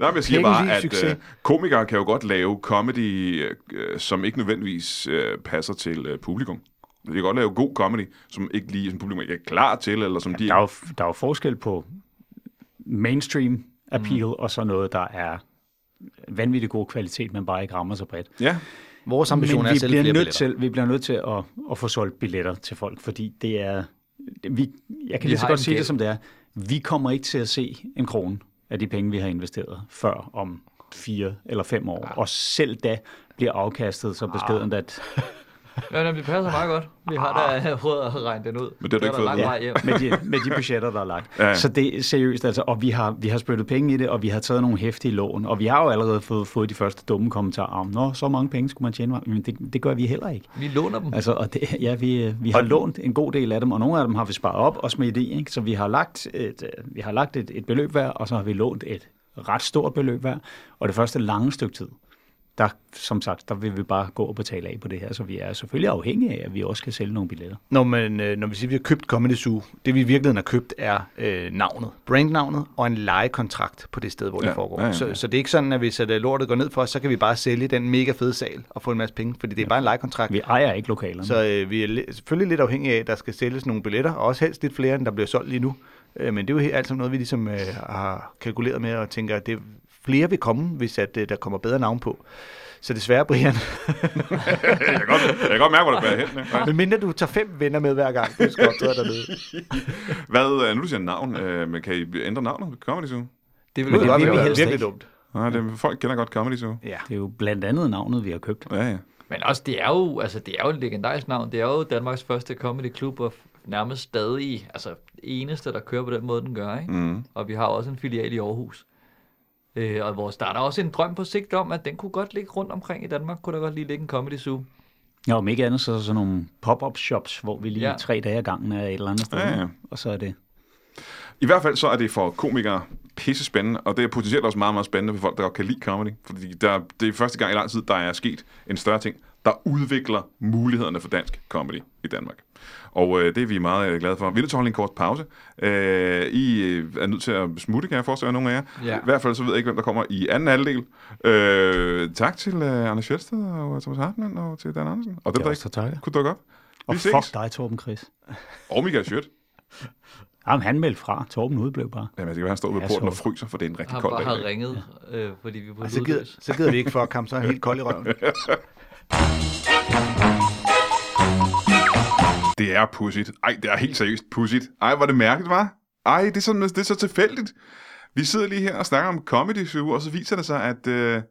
men jeg siger
Penge
bare,
lige
at
succes.
øh, komikere kan jo godt lave comedy, øh, som ikke nødvendigvis øh, passer til øh, publikum. De kan godt lave god comedy, som ikke lige som publikum ikke er klar til, eller som de
Der er
ikke...
jo, der er jo forskel på mainstream appeal, mm. og så noget, der er vanvittig god kvalitet, men bare ikke rammer så bredt.
Ja,
Vores ambition
Men
er
vi
at sælge
bliver
flere
nødt
billetter.
til, vi bliver nødt til at, at få solgt billetter til folk, fordi det er, vi, jeg kan
Vi
lige så
har
godt
en
sige det,
gæld.
som det er. Vi kommer ikke til at se en krone af de penge, vi har investeret, før om fire eller fem år. Og selv da bliver afkastet så beskedent, at
Ja, jamen, det passer meget godt. Vi har
Ah.
da prøvet at regne den ud.
Men det har du ikke
der
fået.
lang
Ja.
vej hjem.
med de, med de budgetter, der er lagt.
Ja,
Ja,
ja.
ja. Så det er seriøst, altså, og vi har, vi har spyttet penge i det, og vi har taget nogle hæftige lån, og vi har jo allerede fået, fået de første dumme kommentarer om, nå, så mange penge skulle man tjene, men det, det gør vi heller ikke.
Vi låner dem.
Altså, og det, ja, vi, øh, vi har og lånt en god del af dem, og nogle af dem har vi sparet op og smidt i. Ikke? Så vi har lagt, et, øh, vi har lagt et, et beløb hver, og så har vi lånt et ret stort beløb hver. Og det første lange stykke tid, der, som sagt, der vil vi bare gå og betale af på det her. Så vi er selvfølgelig afhængige af, at vi også kan sælge nogle billetter.
Når, man, øh, når vi siger, at vi har købt Comedy Zoo, det vi i virkeligheden har købt er øh, navnet, brandnavnet og en lejekontrakt på det sted, hvor ja,
Ja,
det foregår.
ja,
Ja,
ja,
ja,
ja.
Så, så det er ikke sådan, at hvis at øh, lortet går ned for os, så kan vi bare sælge den mega fede sal og få en masse penge, fordi det er bare en lejekontrakt.
Vi ejer ikke lokalerne. Så,
Så øh, vi er li- selvfølgelig lidt afhængige af, at der skal sælges nogle billetter, og også helst lidt flere, end der bliver solgt lige nu. Øh, men det er jo he- alt sammen noget, vi ligesom øh, har kalkuleret med, og tænker, at det flere vil komme, hvis at, øh, der kommer bedre navn på. Så desværre, Brian,
jeg kan godt, jeg kan godt mærke, hvor det bærer hen. ikke? Ja.
medmindre du tager fem venner med hver gang, du skal optræde dernede.
Hvad, øh, nu du siger navn, øh, men kan I ændre navnet på Comedy Zoo?
Det
Det
vil vi
vil
godt
vi
gøre.
helst
virkelig
ikke. dumt.
Nej, det, folk kender godt Comedy Zoo.
Ja.
det er jo blandt andet navnet, vi har købt.
Ja, ja.
Men også, det er jo, altså, det er jo et legendarisk navn. Det er jo Danmarks første comedy klub, og f-
Mhm.
nærmest stadig, altså, eneste, der kører på den måde, den gør, ikke? Mm. Og vi har også en filial i Aarhus. Øh, og vores, der er der også en drøm på sigt om, at den kunne godt ligge rundt omkring i Danmark, kunne der godt lige ligge en comedy zoo.
Ja, om ikke andet, så er der sådan nogle pop-up shops, hvor vi lige
Ja.
ja. tre dage ad gangen er et eller andet sted.
Ja, ja.
ikke? Og så er det...
I hvert fald så er det for komikere pisse spændende, og det er potentielt også meget, meget spændende for folk, der godt kan lide comedy. Fordi der, det er første gang i lang tid, der er sket en større ting, der udvikler mulighederne for dansk comedy i Danmark. Og øh, det er vi meget øh, glade for. Vi er nødt til at holde en kort pause. Øh, I øh, er nødt til at smutte, kan jeg forestille jer, nogle af jer.
Ja.
I hvert fald så ved jeg ikke, hvem der kommer i anden halvdel. Øh, tak til øh, Anders Fjelsted og øh, Thomas Hartmann og til Dan Andersen. Og dem, der ikke
takker.
kunne dukke op.
Og
Vi ses.
fuck dig, Torben Chris.
Og Michael Schødt.
Jamen, han meldte fra. Torben udblev bare.
Jamen, jeg skal være, han står ved
Ja,
porten
så-
og fryser, for det er en rigtig
Har
kold
bare
dag.
har ringet, øh, fordi vi er på
Og så
altså,
gider, så gider vi ikke for at komme så er han helt kold i røven.
Det er pudsigt. Ej, det er helt seriøst pudsigt. Ej, hvor er det mærkeligt, var. Ej, det er, sådan, det er så tilfældigt. Vi sidder lige her og snakker om Comedy Zoo, og så viser det sig, at øh,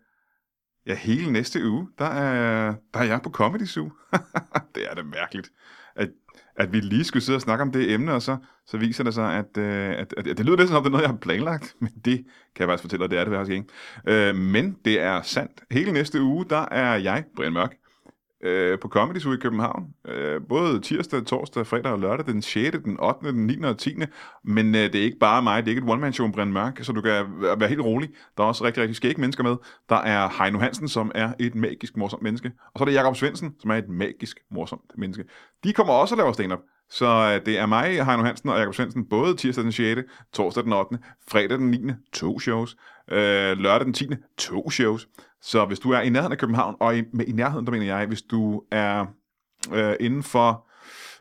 ja, hele næste uge, der er, der er jeg på Comedy Zoo. det er da mærkeligt, at, at vi lige skulle sidde og snakke om det emne, og så, så viser det sig, at, øh, at, at, at det lyder lidt som om, det er noget, jeg har planlagt, men det kan jeg faktisk fortælle dig, det er det faktisk ikke. Øh, men det er sandt. Hele næste uge, der er jeg, Brian Mørk, øh, på Comedy Zoo i København. Øh, både tirsdag, torsdag, fredag og lørdag, den 6., den 8., den 9. og 10. Men øh, det er ikke bare mig, det er ikke et one-man-show med Brian Mørk, så du kan øh, være være helt rolig. Der er også rigtig, rigtig skægge mennesker med. Der er Heino Hansen, som er et magisk morsomt menneske. Og så er der Jakob Svendsen, som er et magisk morsomt menneske. De kommer også og laver stand-up. Så øh, det er mig, Heino Hansen og Jakob Svendsen, både tirsdag den 6., torsdag den 8., fredag den 9., to shows, øh, lørdag den 10., to shows. Så hvis du er i nærheden af København, og i, med, i nærheden, der mener jeg, hvis du er øh, inden for...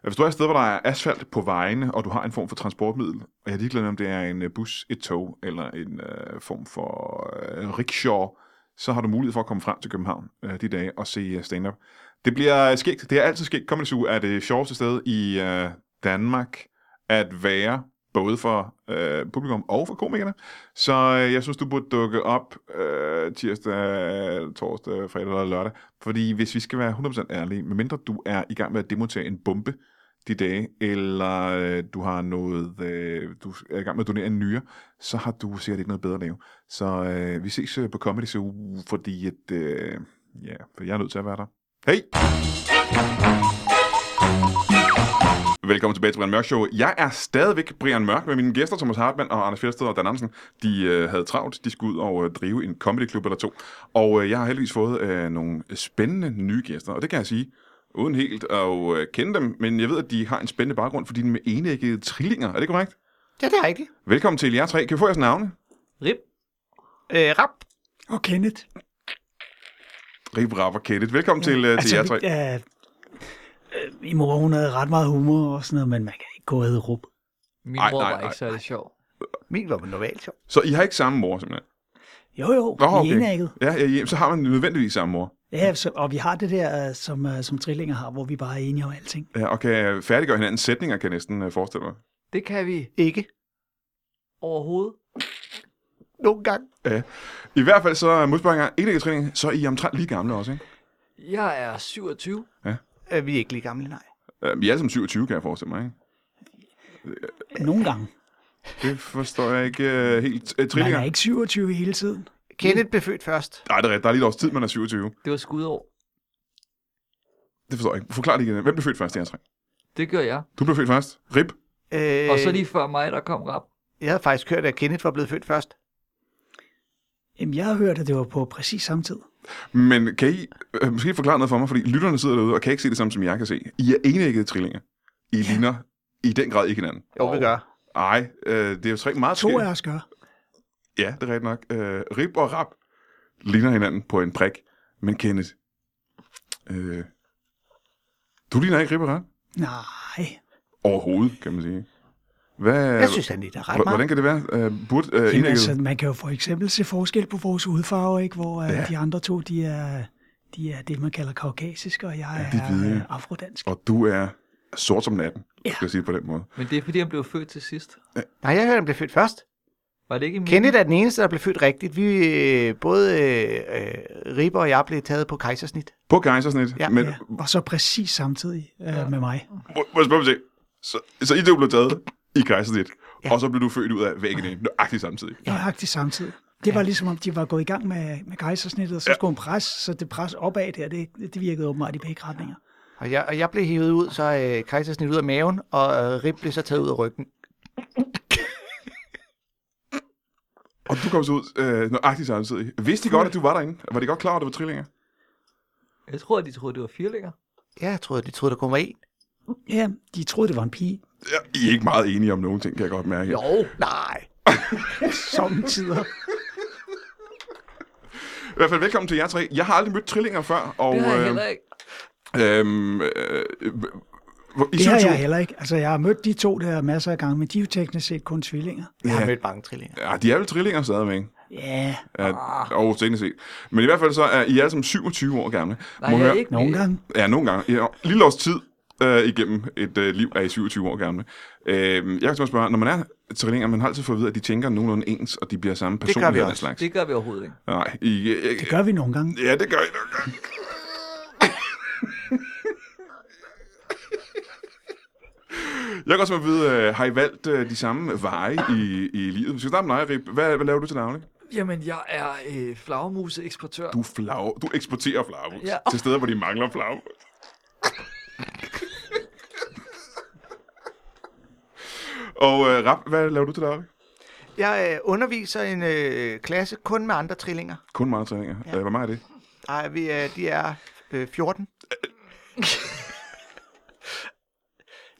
øh, Hvis du er et sted, hvor der er asfalt på vejene, og du har en form for transportmiddel, og jeg er ligeglad med, om det er en øh, bus, et tog eller en øh, form for øh, rickshaw, så har du mulighed for at komme frem til København øh, de dage og se øh, stand-up. Det bliver øh, skægt. Det er altid skægt. Comedy Zoo er det sjoveste sted i øh, Danmark at være, både for øh, publikum og for komikerne. Så øh, jeg synes, du burde dukke op øh, tirsdag, torsdag, fredag eller lørdag. Fordi hvis vi skal være 100% ærlige, medmindre du er i gang med at demontere en bombe de dage, eller øh, du har noget, øh, du er i gang med at donere en nyere, så har du sikkert ikke noget bedre at lave. Så øh, vi ses øh, på Comedy Zoo, fordi at, øh, ja, for jeg er nødt til at være der. Hej! Velkommen tilbage til Brian Mørk Show. Jeg er stadigvæk Brian Mørk med mine gæster, Thomas Hartmann og Anders Fjeldsted og Dan Andersen. De øh, havde travlt. De skulle ud og øh, drive en comedyklub eller to. Og øh, jeg har heldigvis fået øh, nogle spændende nye gæster, og det kan jeg sige, uden helt at øh, kende dem, men jeg ved, at de har en spændende baggrund, fordi de er med enæggede trillinger. Er det korrekt?
Ja, det er rigtigt.
Velkommen til jer tre. Kan vi få jeres navne?
Rip.
Øh, rap.
Og Kenneth.
Rip, Rap og Kenneth. Velkommen til, øh, til jer tre.
ja, Altså, øh, min mor, hun havde ret meget humor og sådan noget, men man kan ikke gå og hedde rup.
Min
Ej,
mor
nej,
var
nej,
ikke særlig sjov.
Min var normalt sjov.
Så I har ikke samme mor, simpelthen?
Jo, jo,
Nå,
vi er enægget.
Ja, ja, ja, så har man nødvendigvis samme mor.
Ja, så, og vi har det der, øh, som, øh, som trillinger har, hvor vi bare er enige om alting.
Ja, og kan færdiggøre hinandens sætninger, kan jeg næsten øh, forestille mig.
Det kan vi
Ikke
overhovedet.
nogen gang.
Ja. I hvert fald så modsparringer, enæggetræning, så er I omtrent lige gamle også, ikke?
Jeg er 27.
Øh, vi er ikke lige gamle, nej.
Øh, Vi er alle sammen 27, kan jeg forestille mig, ikke?
Nogle gange.
Det forstår jeg ikke øh, helt. Øh,
Man
trillinger?
er ikke 27 hele tiden.
Kenneth blev født først.
Nej, det er rigtigt. Der er lige et års tid, man er 27.
Det var skudår.
Det forstår jeg ikke. Forklar det igen. Hvem blev født først, Jens Ring?
Det gør jeg.
Du blev født først. Rip.
Øh,
Og så lige før mig, der kom rap.
Jeg havde faktisk hørt, at Kenneth var blevet født først.
Jamen, jeg har hørt, at det var på præcis samme tid.
Men kan I øh, måske forklare noget for mig, fordi lytterne sidder derude og kan ikke se det samme, som jeg kan se. I er enæggede trillinger. I ligner i den grad ikke hinanden.
Jo, vi gør.
Nej, øh, det er jo tre meget
To
forskellige-
af os gør.
Ja, det er rigtigt nok. Øh, rip og rap ligner hinanden på en prik. Men Kenneth, øh, du ligner ikke rip og rap Øh,
Nej,
overhovedet, kan man sige. Hvad,
Jeg synes, han ligner ret
h-
meget.
hvordan kan det være? Øh, burde øh,
Jamen,
indægget...
altså, man kan jo for eksempel se forskel på vores hudfarve, ikke? hvor uh,
Ja.
ja. de andre to, de er, de er det, man kalder kaukasisk, og jeg
de er
er,
hvide, ja.
øh, afrodansk.
Og du er sort som natten,
Ja.
skal jeg sige det på den måde.
Men det er fordi, han blev født til sidst.
Nej, jeg hørte, at han blev født først.
Mhm.
Var det ikke min?
Kenneth er den eneste, der blev født rigtigt. Vi, øh, både øh, øh, Ribber og jeg blev taget på kejsersnit.
På kejsersnit, ja,
Ja,
men
Ja, og så præcis samtidig øh, ja. med mig.
må, må jeg spørge mig til, så, så I to blev taget i kejsersnit, ja. og så blev du født ud af væggen nøjagtigt samtidig.
Nøjagtigt samtidig.
Det var ligesom, om de var gået i gang med, med kejsersnittet, og så skulle hun presse, så det pres opad der, det, det virkede åbenbart i begge retninger.
Og jeg, og jeg blev hivet ud, så øh, kejsersnit ud af maven, og øh, Rip blev så taget ud af ryggen.
Og du kom så ud øh, nøjagtigt samtidig. Vidste de godt, at du var derinde? Var de godt klar over, at det var trillinger?
Jeg tror, de troede, det var firlinger.
Ja, jeg troede, de troede, der kun var en.
Ja, de troede, det var en pige.
Ja, I er ikke meget enige om nogen ting, kan jeg godt mærke. Jo.
Nej.
Sommetider.
I hvert fald velkommen til jer tre. Jeg har aldrig mødt trillinger før, og...
Det har jeg
øh,
heller ikke.
Øhm, øh, øh, hvor- I
Det har
synes jo-
jeg heller ikke. Altså, jeg har mødt de to der masser af gange, men de er jo teknisk set kun tvillinger.
Jeg har
Ja.
mødt mange trillinger.
Ja, de er vel trillinger stadigvæk.
Ja,
Ja,
Ah.
og teknisk set. Men i hvert fald så er I alle sammen 27 år gamle.
Nej,
Må
jeg er
høre-
ikke.
nogle gange.
Ja, nogle gange. Ja, lille års tid øh, igennem et øh, liv er I 27 år gamle. Øh, jeg kan simpelthen spørge, når man er trillinger, man har altid fået at vide, at de tænker nogenlunde ens, og de bliver samme person.
gør vi
og den
også.
slags.
Det gør vi overhovedet ikke.
Nej, I, øh,
det gør vi nogle gange.
Ja, det gør I nogle gange. Jeg kan også med at vide, øh, har I valgt øh, de samme veje i, i livet? Vi skal starte med dig, Rip. Hvad, hvad laver du til navne?
Jamen, jeg er øh, flagermuseeksportør.
Du, er flag, du eksporterer flagmus ja.
Ja.
til steder, hvor de mangler flagmus. Og øh, Rap, hvad laver du til daglig?
Jeg øh, underviser en øh, klasse kun med andre trillinger.
Kun meget træninger. Ja. Øh, hvor meget er det?
Ej, vi, øh, de er øh, 14.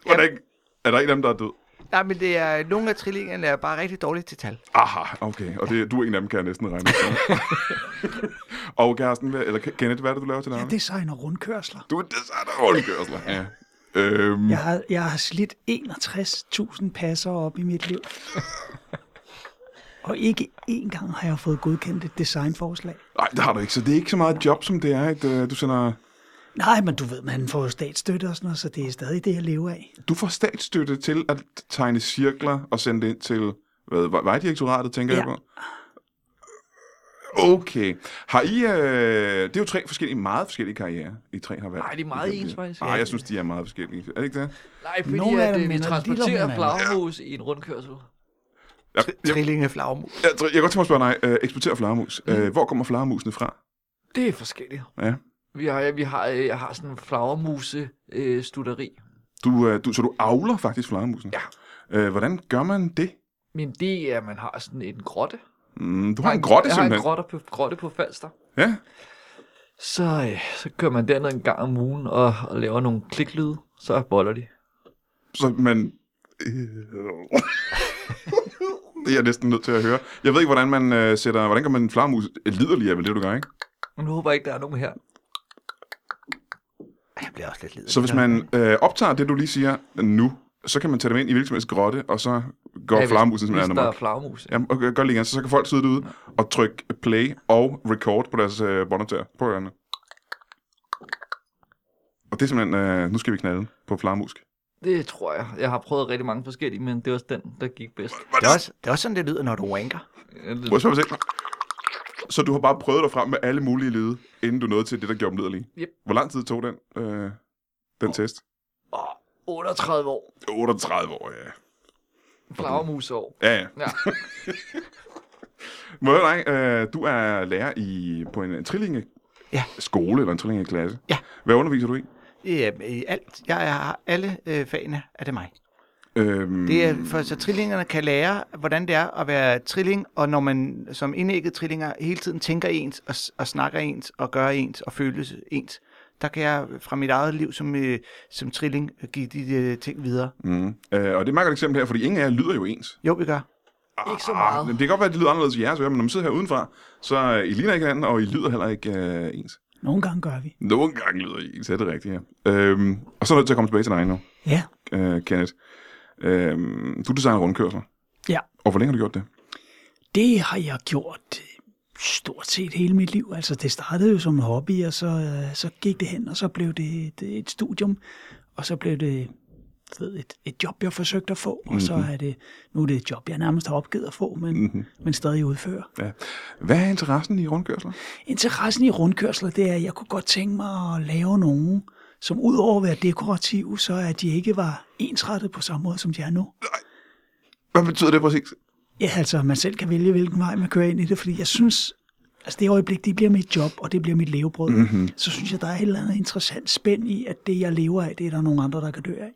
Hvordan, er der en af dem, der er død?
Nej, men det er, nogle af trillingerne er bare rigtig dårlige til tal.
Aha, okay. Og det, du er en af dem, kan jeg næsten regne ud. Og Kirsten, hvad, eller Kenneth, hvad er det, du laver til
Jeg
navnet?
designer rundkørsler.
Du er designer rundkørsler. Ja. Øhm,
Jeg har, jeg har slidt 61.000 passer op i mit liv. Og ikke én gang har jeg fået godkendt et designforslag.
Nej, det har du ikke. Så det er ikke så meget et job, som det er, at øh, du sender...
Nej, men du ved, man får jo statsstøtte og sådan noget, så det er stadig det, jeg lever af.
Du får statsstøtte til at tegne cirkler og sende det ind til hvad, Vej- Vejdirektoratet, tænker ja.
Ja.
jeg på. Okay. Har I... Øh, det er jo tre forskellige, meget forskellige karrierer, I tre har valgt.
Nej, de er meget ens, faktisk.
Nej, jeg synes, de er meget forskellige. Er det ikke det?
Nej, fordi
Nogle af
at,
dem
øh, vi
minder lidt om
transporterer
hinanden.
flagermus i en rundkørsel.
Jeg, jeg, jeg,
Trillinge flagmus.
jeg, jeg kan godt tænke mig at spørge dig, øh, eksporterer flagermus.
Mm.
Øh, hvor kommer flagermusene fra?
Det er forskelligt.
Ja.
Vi har, vi har, øh, jeg har sådan en flagermuse øh, studeri.
Du, øh, du, så du avler faktisk flagermusen?
Ja.
Øh, hvordan gør man det?
Min idé er, at man har sådan en grotte.
Mm, du har en grotte
Jeg har en
simpelthen.
grotte på, grotte på Falster.
Ja.
Så, øh, så kører man derned en gang om ugen og, og laver nogle kliklyde. Så boller de.
Så man... Øh, det er jeg næsten nødt til at høre. Jeg ved ikke, hvordan man øh, sætter... Hvordan gør man en flagermus liderlig af, vel det du gør, ikke?
Men Nu håber jeg ikke, der er nogen her.
Jeg bliver også lidt lidt.
Så hvis man øh, optager det, du lige siger nu, så kan man tage dem ind i hvilken som helst grotte, og så går ja,
Ja, hvis-
flagermusen
Hvis
simpelthen
der er
amok.
flagermus. Ja.
Jamen, okay, gør lige igen, så, så kan folk sidde derude og trykke play og record på deres øh, båndoptager. Prøv at gøre det. Og det er simpelthen, øh, nu skal vi knalde på flagermusk.
Det tror jeg. Jeg har prøvet rigtig mange forskellige, men det var også den, der gik bedst.
Det er, også, det er også sådan, det lyder, når du wanker.
Må jeg spørge mig selv? Så du har bare prøvet dig frem med alle mulige lyde, inden du nåede til det, der gjorde dem liderlige?
Yep.
Hvor lang tid tog den, øh, den test?
Åh, 38 år.
38 år, ja.
Flagermusår.
Ja, ja.
Ja.
Må jeg høre dig, øh, du er lærer i, på en, en trillinge
Ja.
skole eller en trillingeklasse.
Ja.
Hvad underviser du i?
Jamen, Øhm, i alt. Jeg har alle øh, fagene, er det mig.
Øhm,
Det er, for så trillingerne kan lære, hvordan det er at være trilling, og når man som indægget trillinger hele tiden tænker ens, og, s- og snakker ens, og gør ens, og føles ens, der kan jeg fra mit eget liv som, øh, som trilling øh, give de øh, ting videre.
Mm. Øh, og det er et meget godt eksempel her, fordi ingen af jer lyder jo ens.
Jo, vi gør.
Ikke så meget.
Ah, det kan godt være, at det lyder anderledes i jeres ører, men når man sidder her udenfra, så øh, I ligner ikke hinanden, og I lyder heller ikke øh, ens.
Nogle gange gør vi.
Nogle gange lyder I ens, er det rigtigt, ja. Øhm, og så er jeg nødt til at komme tilbage til dig nu,
Ja,
øh, Kenneth. Øhm, du designer rundkørsler.
Ja.
Og hvor længe har du gjort det?
det har jeg gjort øh, stort set hele mit liv. Altså, det startede jo som en hobby, og så, øh, så gik det hen, og så blev det et, øh, et studium, og så blev det du ved, et, et job, jeg forsøgte at få, og så er det, nu er det et job, jeg nærmest har opgivet at få, men, mm-hmm. men stadig udfører.
Ja. Hvad er interessen i rundkørsler?
Interessen i rundkørsler, det er, at jeg kunne godt tænke mig at lave nogen, som udover at være dekorative, så at de ikke var ensrettet på samme måde, som de er nu.
Hvad betyder det præcis?
Ja, altså, man selv kan vælge, hvilken vej man kører ind i det, fordi jeg synes, altså det øjeblik, det bliver mit job, og det bliver mit levebrød, mm-hmm. så synes jeg, der er et eller andet interessant spænd i, at det, jeg lever af, det er der nogle andre, der kan dø af.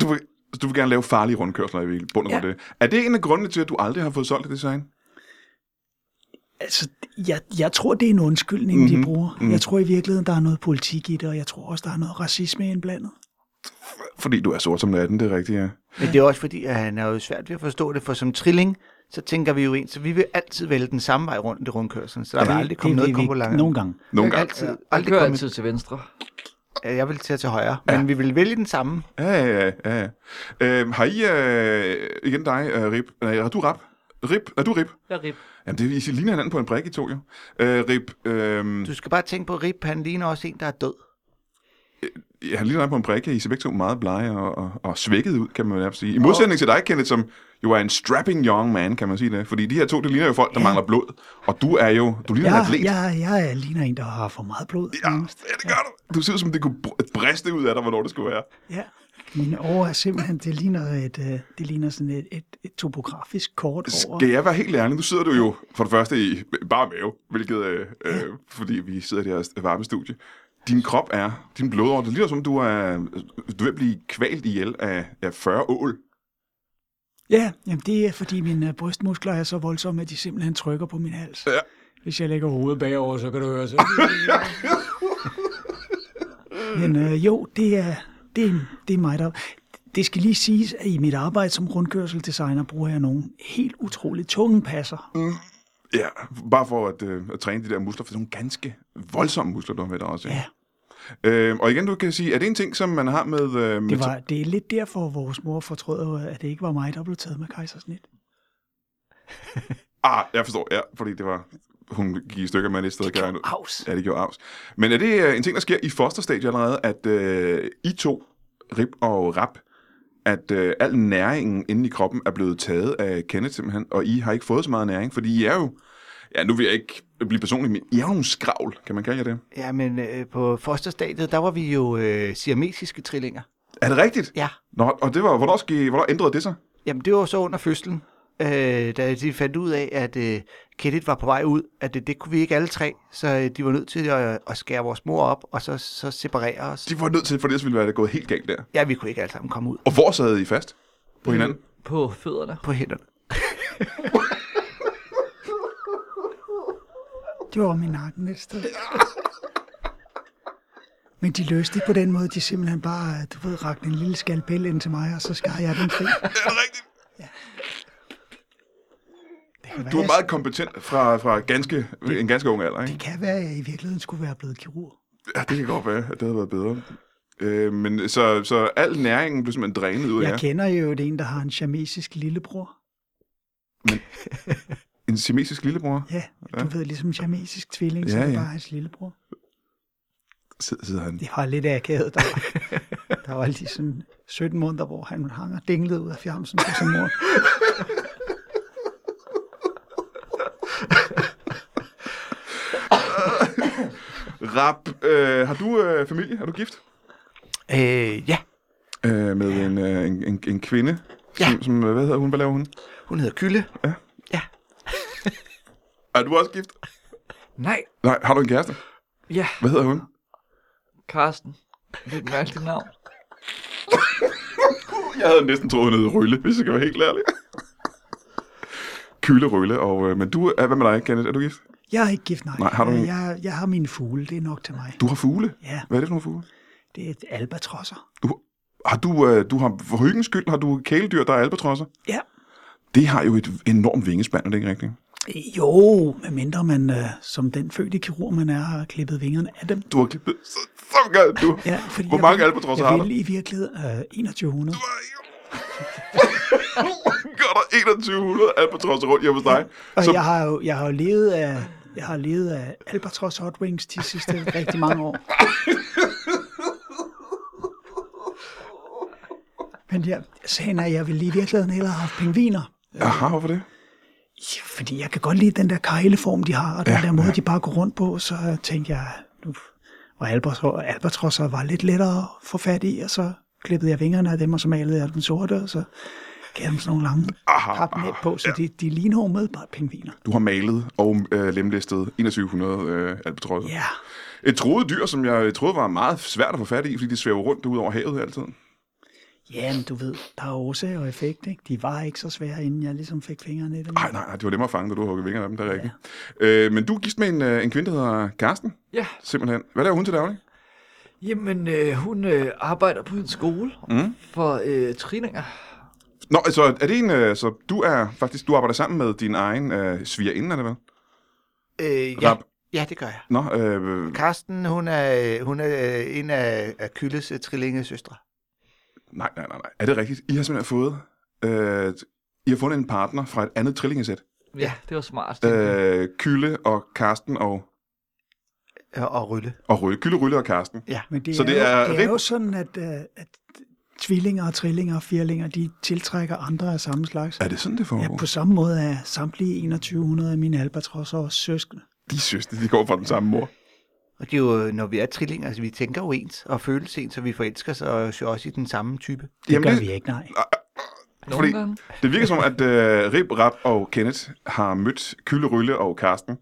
Du vil, du vil gerne lave farlige rundkørsler i bund og ja.
Ja.
det. Er det en af grundene til, at du aldrig har fået solgt et design?
Altså, jeg, jeg tror, det er en undskyldning, mm-hmm. de bruger. Mm. Jeg tror i virkeligheden, der er noget politik i det, og jeg tror også, der er noget racisme indblandet.
Fordi du er sort som natten, det er rigtigt, ja.
Men det er også fordi, at han er jo svært ved at forstå det, for som trilling, så tænker vi jo ind, så vi vil altid vælge den samme vej rundt i rundkørslen, så der vil aldrig komme noget
det, vi
kombo langt.
Nogle gange.
Nogle gange.
Altid,
Jeg
aldrig
kører
komme,
altid til venstre.
Ja, jeg vil til til højre, men vi vil vælge den samme.
Ja, ja, ja. ja. Øhm, har I, øh, igen dig, øh, Rip, nej, har du rap? Rip, er du Rip?
Jeg rip.
Jamen, det, I ligner hinanden på en brik, I to jo. Øh, Rip, øh,
Du skal bare tænke på, at Rip, han ligner også en, der er død.
Ja, han ligner dig på en brække. I ser begge to meget blege og, og, og svækket ud, kan man nærmest sige. I modsætning til dig, Kenneth, som jo er en strapping young man, kan man sige det. Fordi de her to, det ligner jo folk, der ja. mangler blod. Og du er jo, du ligner en
Jeg,
atlet.
jeg, jeg ligner en, der har for meget blod.
Ja, ja, det gør du. Du ser ud som, det kunne br- briste ud af dig, hvornår det skulle være.
Ja. Mine år er simpelthen, det ligner, et, øh, det ligner sådan et, et, et topografisk kort over.
Skal jeg være helt ærlig? Nu sidder du jo for det første i bare mave, hvilket, øh, øh, fordi vi sidder i det her varme studie. Din krop er, din blodår, det ligner som, du er, du er ved at blive kvalt ihjel af, af 40 ål.
Ja, jamen det er, fordi mine øh, brystmuskler er så voldsomme, at de simpelthen trykker på min hals.
Ja.
Hvis jeg lægger hovedet bagover, så kan du høre så. Men øh, jo, det er, det, er, det er mig, der... Det skal lige siges, at i mit arbejde som rundkørseldesigner bruger jeg nogle helt utroligt tunge passer.
Mm. Ja, bare for at, øh, at træne de der muskler, for det er nogle ganske voldsomme muskler, du har med dig også.
Ja,
Øh, og igen, du kan sige, er det en ting, som man har med... Øh, med
det, var, det er lidt derfor, vores mor fortrød, jo, at det ikke var mig, der blev taget med kejsersnit.
Ah, jeg forstår, ja, fordi det var... Hun gik i stykker med lidt sted. kan jeg nu-
Aus.
Ja, det gjorde Avs. Men er det øh, en ting, der sker i fosterstadiet allerede, at øh, I to, Rip og Rap, at øh, al næringen inde i kroppen er blevet taget af Kenneth simpelthen, og I har ikke fået så meget næring, fordi I er jo... Ja, nu vil jeg ikke blive personlig, men I er jo nogle skravl, kan man kalde jer det?
Ja, men øh, på fosterstadiet, der var vi jo øh, siamesiske trillinger.
Er det rigtigt?
Ja.
Nå, og det var, hvornår, ske, hvornår ændrede det sig?
Jamen, det var så under fødslen, øh, da de fandt ud af, at øh, Kenneth var på vej ud, at det, det kunne vi ikke alle tre, så øh, de var nødt til at, at skære vores mor op, og så, så separere os.
De var nødt til, for ellers ville det være gået helt galt der.
Ja, vi kunne ikke alle sammen komme ud
Og hvor sad I fast? På hinanden?
På fødderne.
på hænderne.
Det var min nakken et sted. Men de løste det på den måde, de simpelthen bare, du ved, rakte en lille skalpel ind til mig, og så skar jeg den fri.
Er det rigtigt?
Det kan
Du
være,
er meget kompetent fra, fra ganske, en ganske ung alder,
Det
ikke?
kan være, at jeg i virkeligheden skulle være blevet kirurg.
Ja, det kan godt være, at det havde været bedre. Øh, men så, så al næringen blev simpelthen drænet ud af jer.
Jeg kender jo en, der har en chamesisk lillebror.
En simesisk lillebror.
Ja, du ved, ligesom en chamesisk tvilling, så
Ja,
er det
ja.
bare hans lillebror.
Sidder, sidder han.
Det var lidt akavet, der var, der var lige sådan 17 måneder, hvor han hang og dinglede ud af fjamsen på sin mor.
Rap, øh, har du øh, familie? Er du gift?
Øh, ja,
Øh, med en, øh, en, en, en kvinde?
Ja.
Som, som, øh, hvad hedder hun? Hvad laver hun?
hun hedder Kylle.
Ja.
Ja.
Er du også gift?
Nej.
Nej, har du en kæreste?
Ja,
Hvad hedder hun?
Karsten. Det er et mærkeligt navn.
Jeg havde næsten troet, hun hed Rølle, hvis jeg skal være helt ærlig. Kyle Rølle, og, øh, men du, er, hvad med dig, Kenneth? Er du gift?
Jeg er ikke gift, nej. Øh,
Nej, har du en-
jeg, jeg har mine fugle, det er nok til mig.
Du har fugle?
Ja,
Hvad er det for nogle fugle?
det er et albatrosser.
Du, har du, øh, du har, for hyggens skyld, har du kæledyr, der er albatrosser?
Ja,
Det har jo et enormt vingespand, er det ikke rigtigt?
Øh, Jo, medmindre man øh, som den fødte kirurg, man er, har klippet vingerne af dem.
Du har klippet så, så godt, du.
Ja, fordi
Hvor
jeg
mange
vil-
albatrosser har
Jeg
du?
vil i virkeligheden øh, 2100.
Gør der 2100 albatrosser rundt hjemme hos dig?
Og
Som,
jeg har jo jeg har jo levet af... Jeg har levet af Albatros Hot Wings de sidste rigtig mange år. Men jeg, sagen er, at jeg ville i virkeligheden hellere have haft pingviner.
Aha, hvorfor det?
Ja, Fordi jeg kan godt lide den der kejleform, de har, og den ja, der måde, ja. de bare går rundt på, så øh, tænkte jeg, nu var albatros- albatrosser var lidt lettere at få fat i, og så klippede jeg vingerne af dem, og så malede jeg den sorte, og så gav dem sådan nogle lange
Aha, Mm.
papnet på, så de, de ligner jo medbart pingviner.
Du har malet og øh, lemlæstet 2100 øh, albatrosser.
Ja,
Et troet dyr, som jeg troede var meget svært at få fat i, fordi de svæver rundt ud over havet hele tiden.
ja men du ved, der er årsag og effekt, ikke? De var ikke så svære, inden jeg ligesom fik fingrene i dem.
Nej, nej, nej, det var nemmere at fange, da du huggede vingerne af dem, der er rigtigt. Ja. Øh, men du er gift med en, øh, en kvinde, der hedder Karsten,
Ja,
simpelthen. Hvad laver hun til daglig?
jamen øh, hun øh, arbejder på en skole
Mm.
for øh, trillinger.
Nå, altså, er det en, øh, så du er faktisk, du arbejder sammen med din egen øh, svigerinde, eller hvad?
Øh, ja,
Rap.
ja, det gør jeg.
Nå, øh,
Karsten, hun er, hun er øh, en af, af Kylles øh, trillingesøstre.
nej, nej, nej, nej. Er det rigtigt? I har simpelthen fået, øh, I har fundet en partner fra et andet trillingesæt.
Ja, det var smart. Øh.
Øh, Kyle og Karsten og,
og- øh, og Rylle.
og Rylle. Kyle, Rylle og Karsten.
Men det,
Så
så er,
det
det, er,
er
jo, det er
rim-
jo sådan, at, øh, at tvillinger og trillinger og firlinger, de tiltrækker andre af samme slags.
Er det sådan, det
Ja,
foregår?
på samme måde er samtlige 2100 af mine albatrosser og søskende.
De synes, de går fra den samme mor.
Og det er jo, når vi er trillinger, altså vi tænker jo ens og føles ens, så vi forelsker os og også i den samme type.
Jamen,
Det Jamen, gør
det-
vi ikke, nej.
Nogle
fordi-
gange.
Det virker som, at øh, Rib, Rap og Kenneth har mødt Kylle, Rylle og Karsten.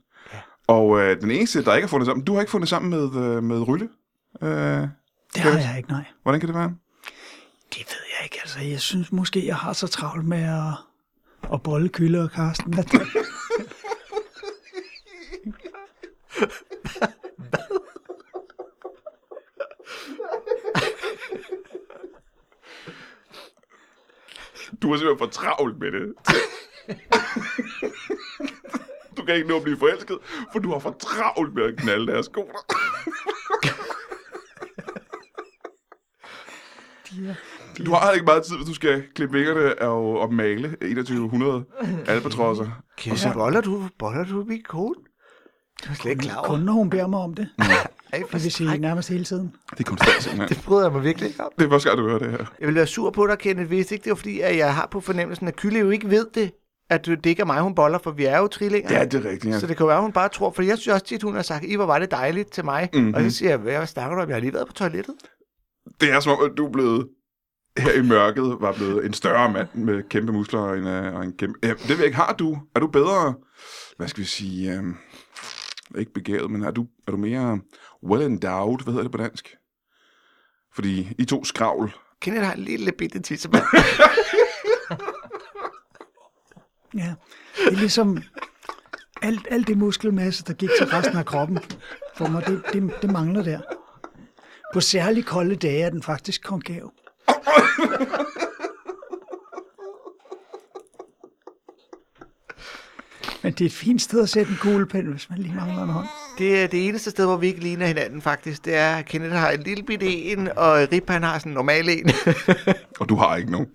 Og øh, den eneste, der ikke har fundet sammen, du har ikke fundet sammen med, øh, med Rylle. Øh,
Det har jeg ikke, nej.
hvordan kan det være?
Det ved jeg ikke, altså. Jeg synes måske, jeg har så travlt med at, at bolle Kylle og Karsten. At,
Du har simpelthen for travlt med det. du kan ikke nå at blive forelsket, for du har for travlt med at knalde deres sko. Du har ikke meget tid, hvis du skal klippe vingerne og, og male 2100 albatrosser.
Kære, så boller du, boller du min kone? Det var slet ikke klar over.
kun når hun beder mig om det.
Ej, for
Det vil sige nærmest hele tiden.
Det er konstant simpelthen.
Det bryder jeg mig virkelig ikke om.
Det er første gang, du hører det her.
Jeg vil være sur på dig, Kenneth, hvis ikke det var fordi, at jeg har på fornemmelsen, at Kylle jo ikke ved det, at det ikke er mig, hun boller, for vi er jo trillinger.
Ja, det er rigtigt. Ja.
Så det kan jo være, hun bare tror, for jeg synes også tit, hun har sagt, I hvor var det dejligt til mig. Mm-hmm. Og så siger jeg, hvad snakker du om? Jeg har lige været på toilettet.
Det er som om, at du er blevet her i mørket, var blevet en større mand med kæmpe muskler og en, øh, og en kæmpe... Ja, det ved jeg ikke. Har du? Er du bedre... Hvad skal vi sige? øhm, ikke begavet, men er du, er du mere well endowed? Hvad hedder det på dansk? Fordi I to skravl.
Kenneth har en lille bitte tissemand.
Ja. Det er ligesom alt, alt det muskelmasse, der gik til resten af kroppen. For mig, det, det, det mangler der. På særlig kolde dage er den faktisk konkav. Men det er et fint sted at sætte en kuglepen, hvis man lige mangler en hånd.
Det er det eneste sted, hvor vi ikke ligner hinanden faktisk. Det er, at Kenneth har en lille bitte en, og Rip han har sådan en normal en.
Og du har ikke nogen.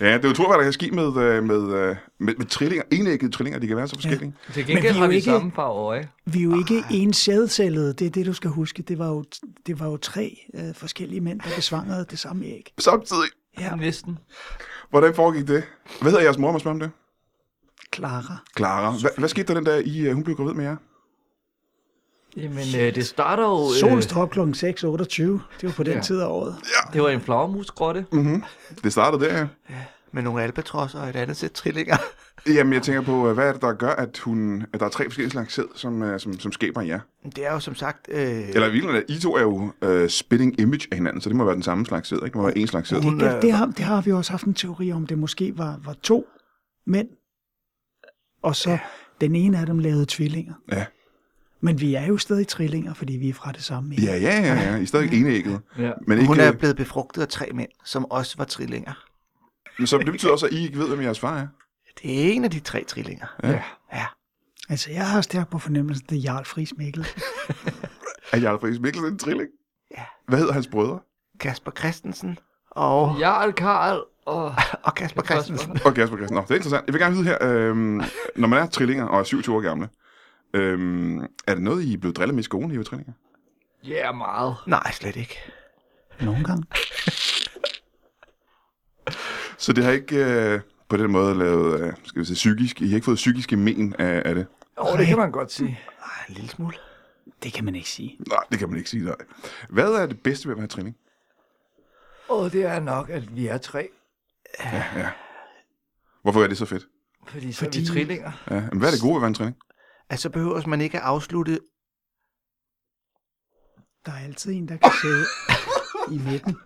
ja, det er utroligt, hvad der kan ske med, øh, med, øh, med, med trillinger. Enæggede trillinger, de kan være så forskellige. Ja.
Til
vi er
gengæld
jo
har vi
ikke-
samme farve øje.
Vi er jo ikke en sædcellede, det er det, du skal huske. Det var jo, det var jo tre øh, forskellige mænd, der besvangrede det samme æg.
Samtidig.
Ja,
Næsten.
Hvordan foregik det? Hvad hedder jeres mor, må jeg spørge om det?
Clara.
Clara, hvad, hvad skete der den dag, I, øh, hun blev gravid med jer?
Jamen, øh, det starter jo... Øh,
Solen står op kl. 6.28. Det var på den
Ja.
tid af året.
det var en flagermusgrotte.
Mm. Det startede der, ja.
Med nogle albatrosser og et andet sæt trillinger.
Jamen, jeg tænker på, øh, hvad er det, der gør, at, hun, at der er tre forskellige slags sæd, som, øh, som, som skaber jer?
Det er jo som sagt... Øh,
Eller i virkeligheden, er- I to er jo øh, spitting image af hinanden, så det må være den samme slags sæd, ikke? Det må være én slags sæd.
hun, øh,
Det, det, har, det har vi også haft en teori om, det måske var, var to mænd, og så ja. den ene af dem lavede tvillinger.
Ja.
Men vi er jo stadig trillinger, fordi vi er fra det samme. æg.
Ja, ja, ja, ja. I er stadig enægget.
Ja.
Men ikke,
hun er
øh,
blevet befrugtet af tre mænd, som også var trillinger.
men så det betyder også, at I ikke ved, hvem jeres far er.
Det er en af de tre trillinger.
Ja.
ja.
Altså, jeg har stærkt på fornemmelsen, det er Jarl Friis Mikkelsen.
Er Jarl Friis Mikkelsen en trilling? Ja. Hvad hedder hans brødre?
Kasper Christensen og,
Jarl Karl og...
og Kasper Christensen.
Og Kasper Christen. Nå, det er interessant. Jeg vil gerne vide her, øhm, når man er trillinger og er 27 år gamle, øhm, er det noget, I er blevet drillet med i skolen, I er trillinger?
Ja, yeah, meget.
Nej, slet ikke.
Nogle gange.
Så det har ikke øh, på den måde lavet, øh, skal vi sige, psykisk, I har ikke fået psykiske men af, af det?
Åh, oh, det kan man godt sige.
Ej, en lille smule.
Det kan man ikke sige.
Nej, det kan man ikke sige, nej. Hvad er det bedste ved at være trilling?
Og det er nok, at vi er tre.
Hvorfor er det så fedt?
Fordi så Fordi...
Fordi-
er vi trillinger.
Ja, men hvad er det gode ved vandtræning?
Altså, så behøver man ikke at afslutte
Der er altid en, der kan sidde i midten.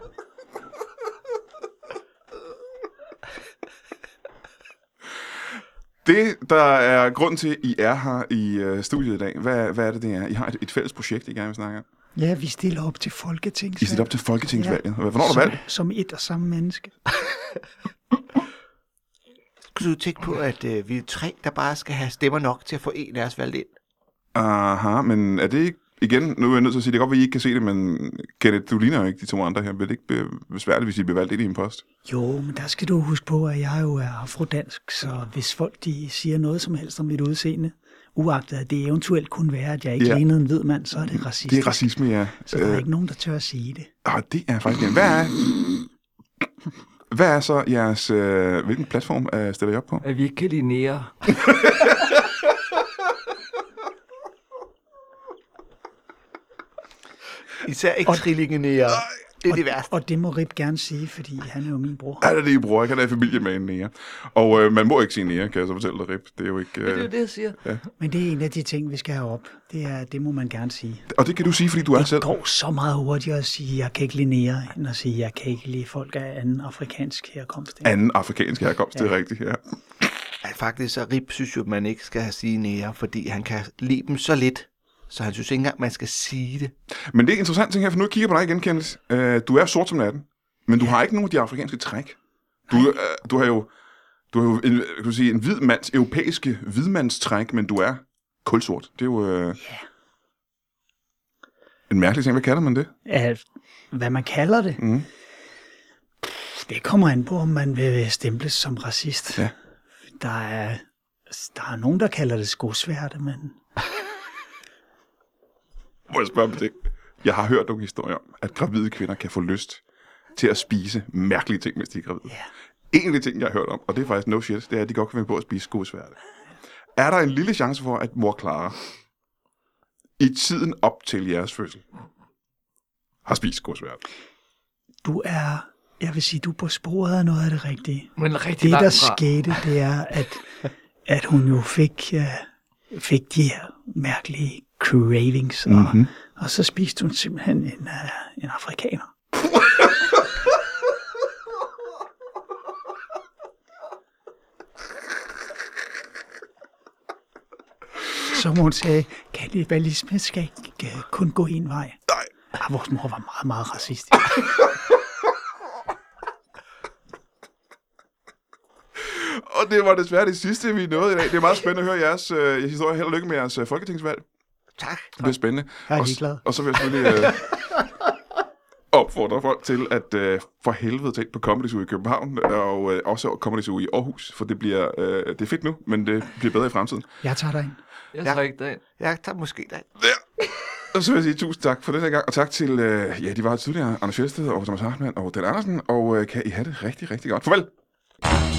Det, der er grund til, at I er her i øh, studiet i dag, hvad, hvad er det, det er? I har et, et fælles projekt, I gerne vil snakke om.
Ja, vi stiller op til Folketinget.
I stiller op til Folketingsvalget. Hvornår er der valg?
Som et og samme menneske.
Kunne du tænke på, at øh, vi er tre, der bare skal have stemmer nok til at få en af os valgt ind?
Aha, men er det ikke... Igen, nu er jeg nødt til at sige, det er godt, at I ikke kan se det, men Kenneth, du ligner jo ikke de to andre her. Vil det ikke blive besværligt, hvis I bliver valgt ind i en post?
Jo, men der skal du huske på, at jeg jo er afrodansk, så hvis folk de siger noget som helst om mit udseende, uagtet at det eventuelt kunne være, at jeg ikke
Ja.
ja. lignede en hvid mand, så er Øh. det racistisk.
Det er racisme, ja.
Så der er ikke nogen, der tør at sige det.
Ah, det er faktisk... Hvad er, hvad er så jeres... Øh, hvilken platform øh, stiller I op på?
At vi ikke kan lide nære.
Især ikke trillingene. Ja. Det er det værste.
Og det må Rip gerne sige, fordi han er jo min bror.
Er det det, I bruger? Jeg kan da i familie med en nære. Og øh, man må ikke sige nære, kan jeg så fortælle dig, Rip. Det er jo ikke...
Det er jo
Øh,
det, jeg siger.
Men det er en af de ting, vi skal have op. Det, er, det må man gerne sige.
og det kan du sige, fordi du er selv...
Det går så meget hurtigere at sige, jeg kan ikke lide nære, end at sige, jeg kan ikke lide folk af anden afrikansk herkomst. Ja.
anden afrikansk herkomst, ja. det er rigtigt, ja.
Ja, faktisk så Rip synes jo, at man ikke skal have sige nære, fordi han kan lide dem så lidt, så han synes ikke engang, man skal sige det.
Men det er interessant ting her, for nu kigger jeg på dig igen, Kenneth. Øh, du er sort som natten, men du har ikke nogen af de afrikanske træk. Du, øh, du har jo, du har jo en, øh, kan du sige, en hvid mands, europæiske hvidmandstræk, men du er kulsort. Det er jo øh, en mærkelig ting. Hvad kalder man det?
Af, hvad man kalder det.
Mhm.
Det kommer an på, om man vil stemples som racist.
Ja.
Der, er, der er nogen, der kalder det skosværte, men
Må jeg spørge om det? Jeg har hørt nogle historier om, at gravide kvinder kan få lyst til at spise mærkelige ting, mens de er gravide.
Ja.
En af de ting, jeg har hørt om, og det er faktisk no shit, det er, at de godt kan finde på at spise skosværte. Er der en lille chance for, at mor Clara i tiden op til jeres fødsel har spist skosværte?
du er, jeg vil sige, du er på sporet af noget af det rigtige.
Men rigtig
Det,
langt
der
fra.
skete, det er, at, at hun jo fik, øh, fik de her mærkelige cravings, og,
Mhm.
mm-hmm. og så spiste hun simpelthen en, øh, en afrikaner. Som hun sagde, kannibalisme skal ikke øh, kun gå en vej. Nej. Ah, vores mor var meget, meget racistisk.
Og det var desværre det sidste, vi nåede i dag. Det er meget spændende at høre jeres øh, historie. Held og lykke med jeres øh, folketingsvalg.
Tak.
Det bliver spændende.
Jeg er
Og s-
ligeglad.
Og så vil jeg selvfølgelig øh, opfordre folk til at øh, for helvede tage ind på Comedy Zoo i København, og øh, også Comedy Zoo i Aarhus, for det bliver øh, det er fedt nu, men det bliver bedre i fremtiden.
Jeg tager dig ind.
Jeg
Ja.
tager ikke derind.
Jeg tager måske dig.
Ja. Og så vil jeg sige tusind tak for den her gang, og tak til, øh, ja, de var her tidligere, Anders Fjelsted og Thomas Hartmann og Dan Andersen, og øh, kan I have det rigtig, rigtig godt. Farvel!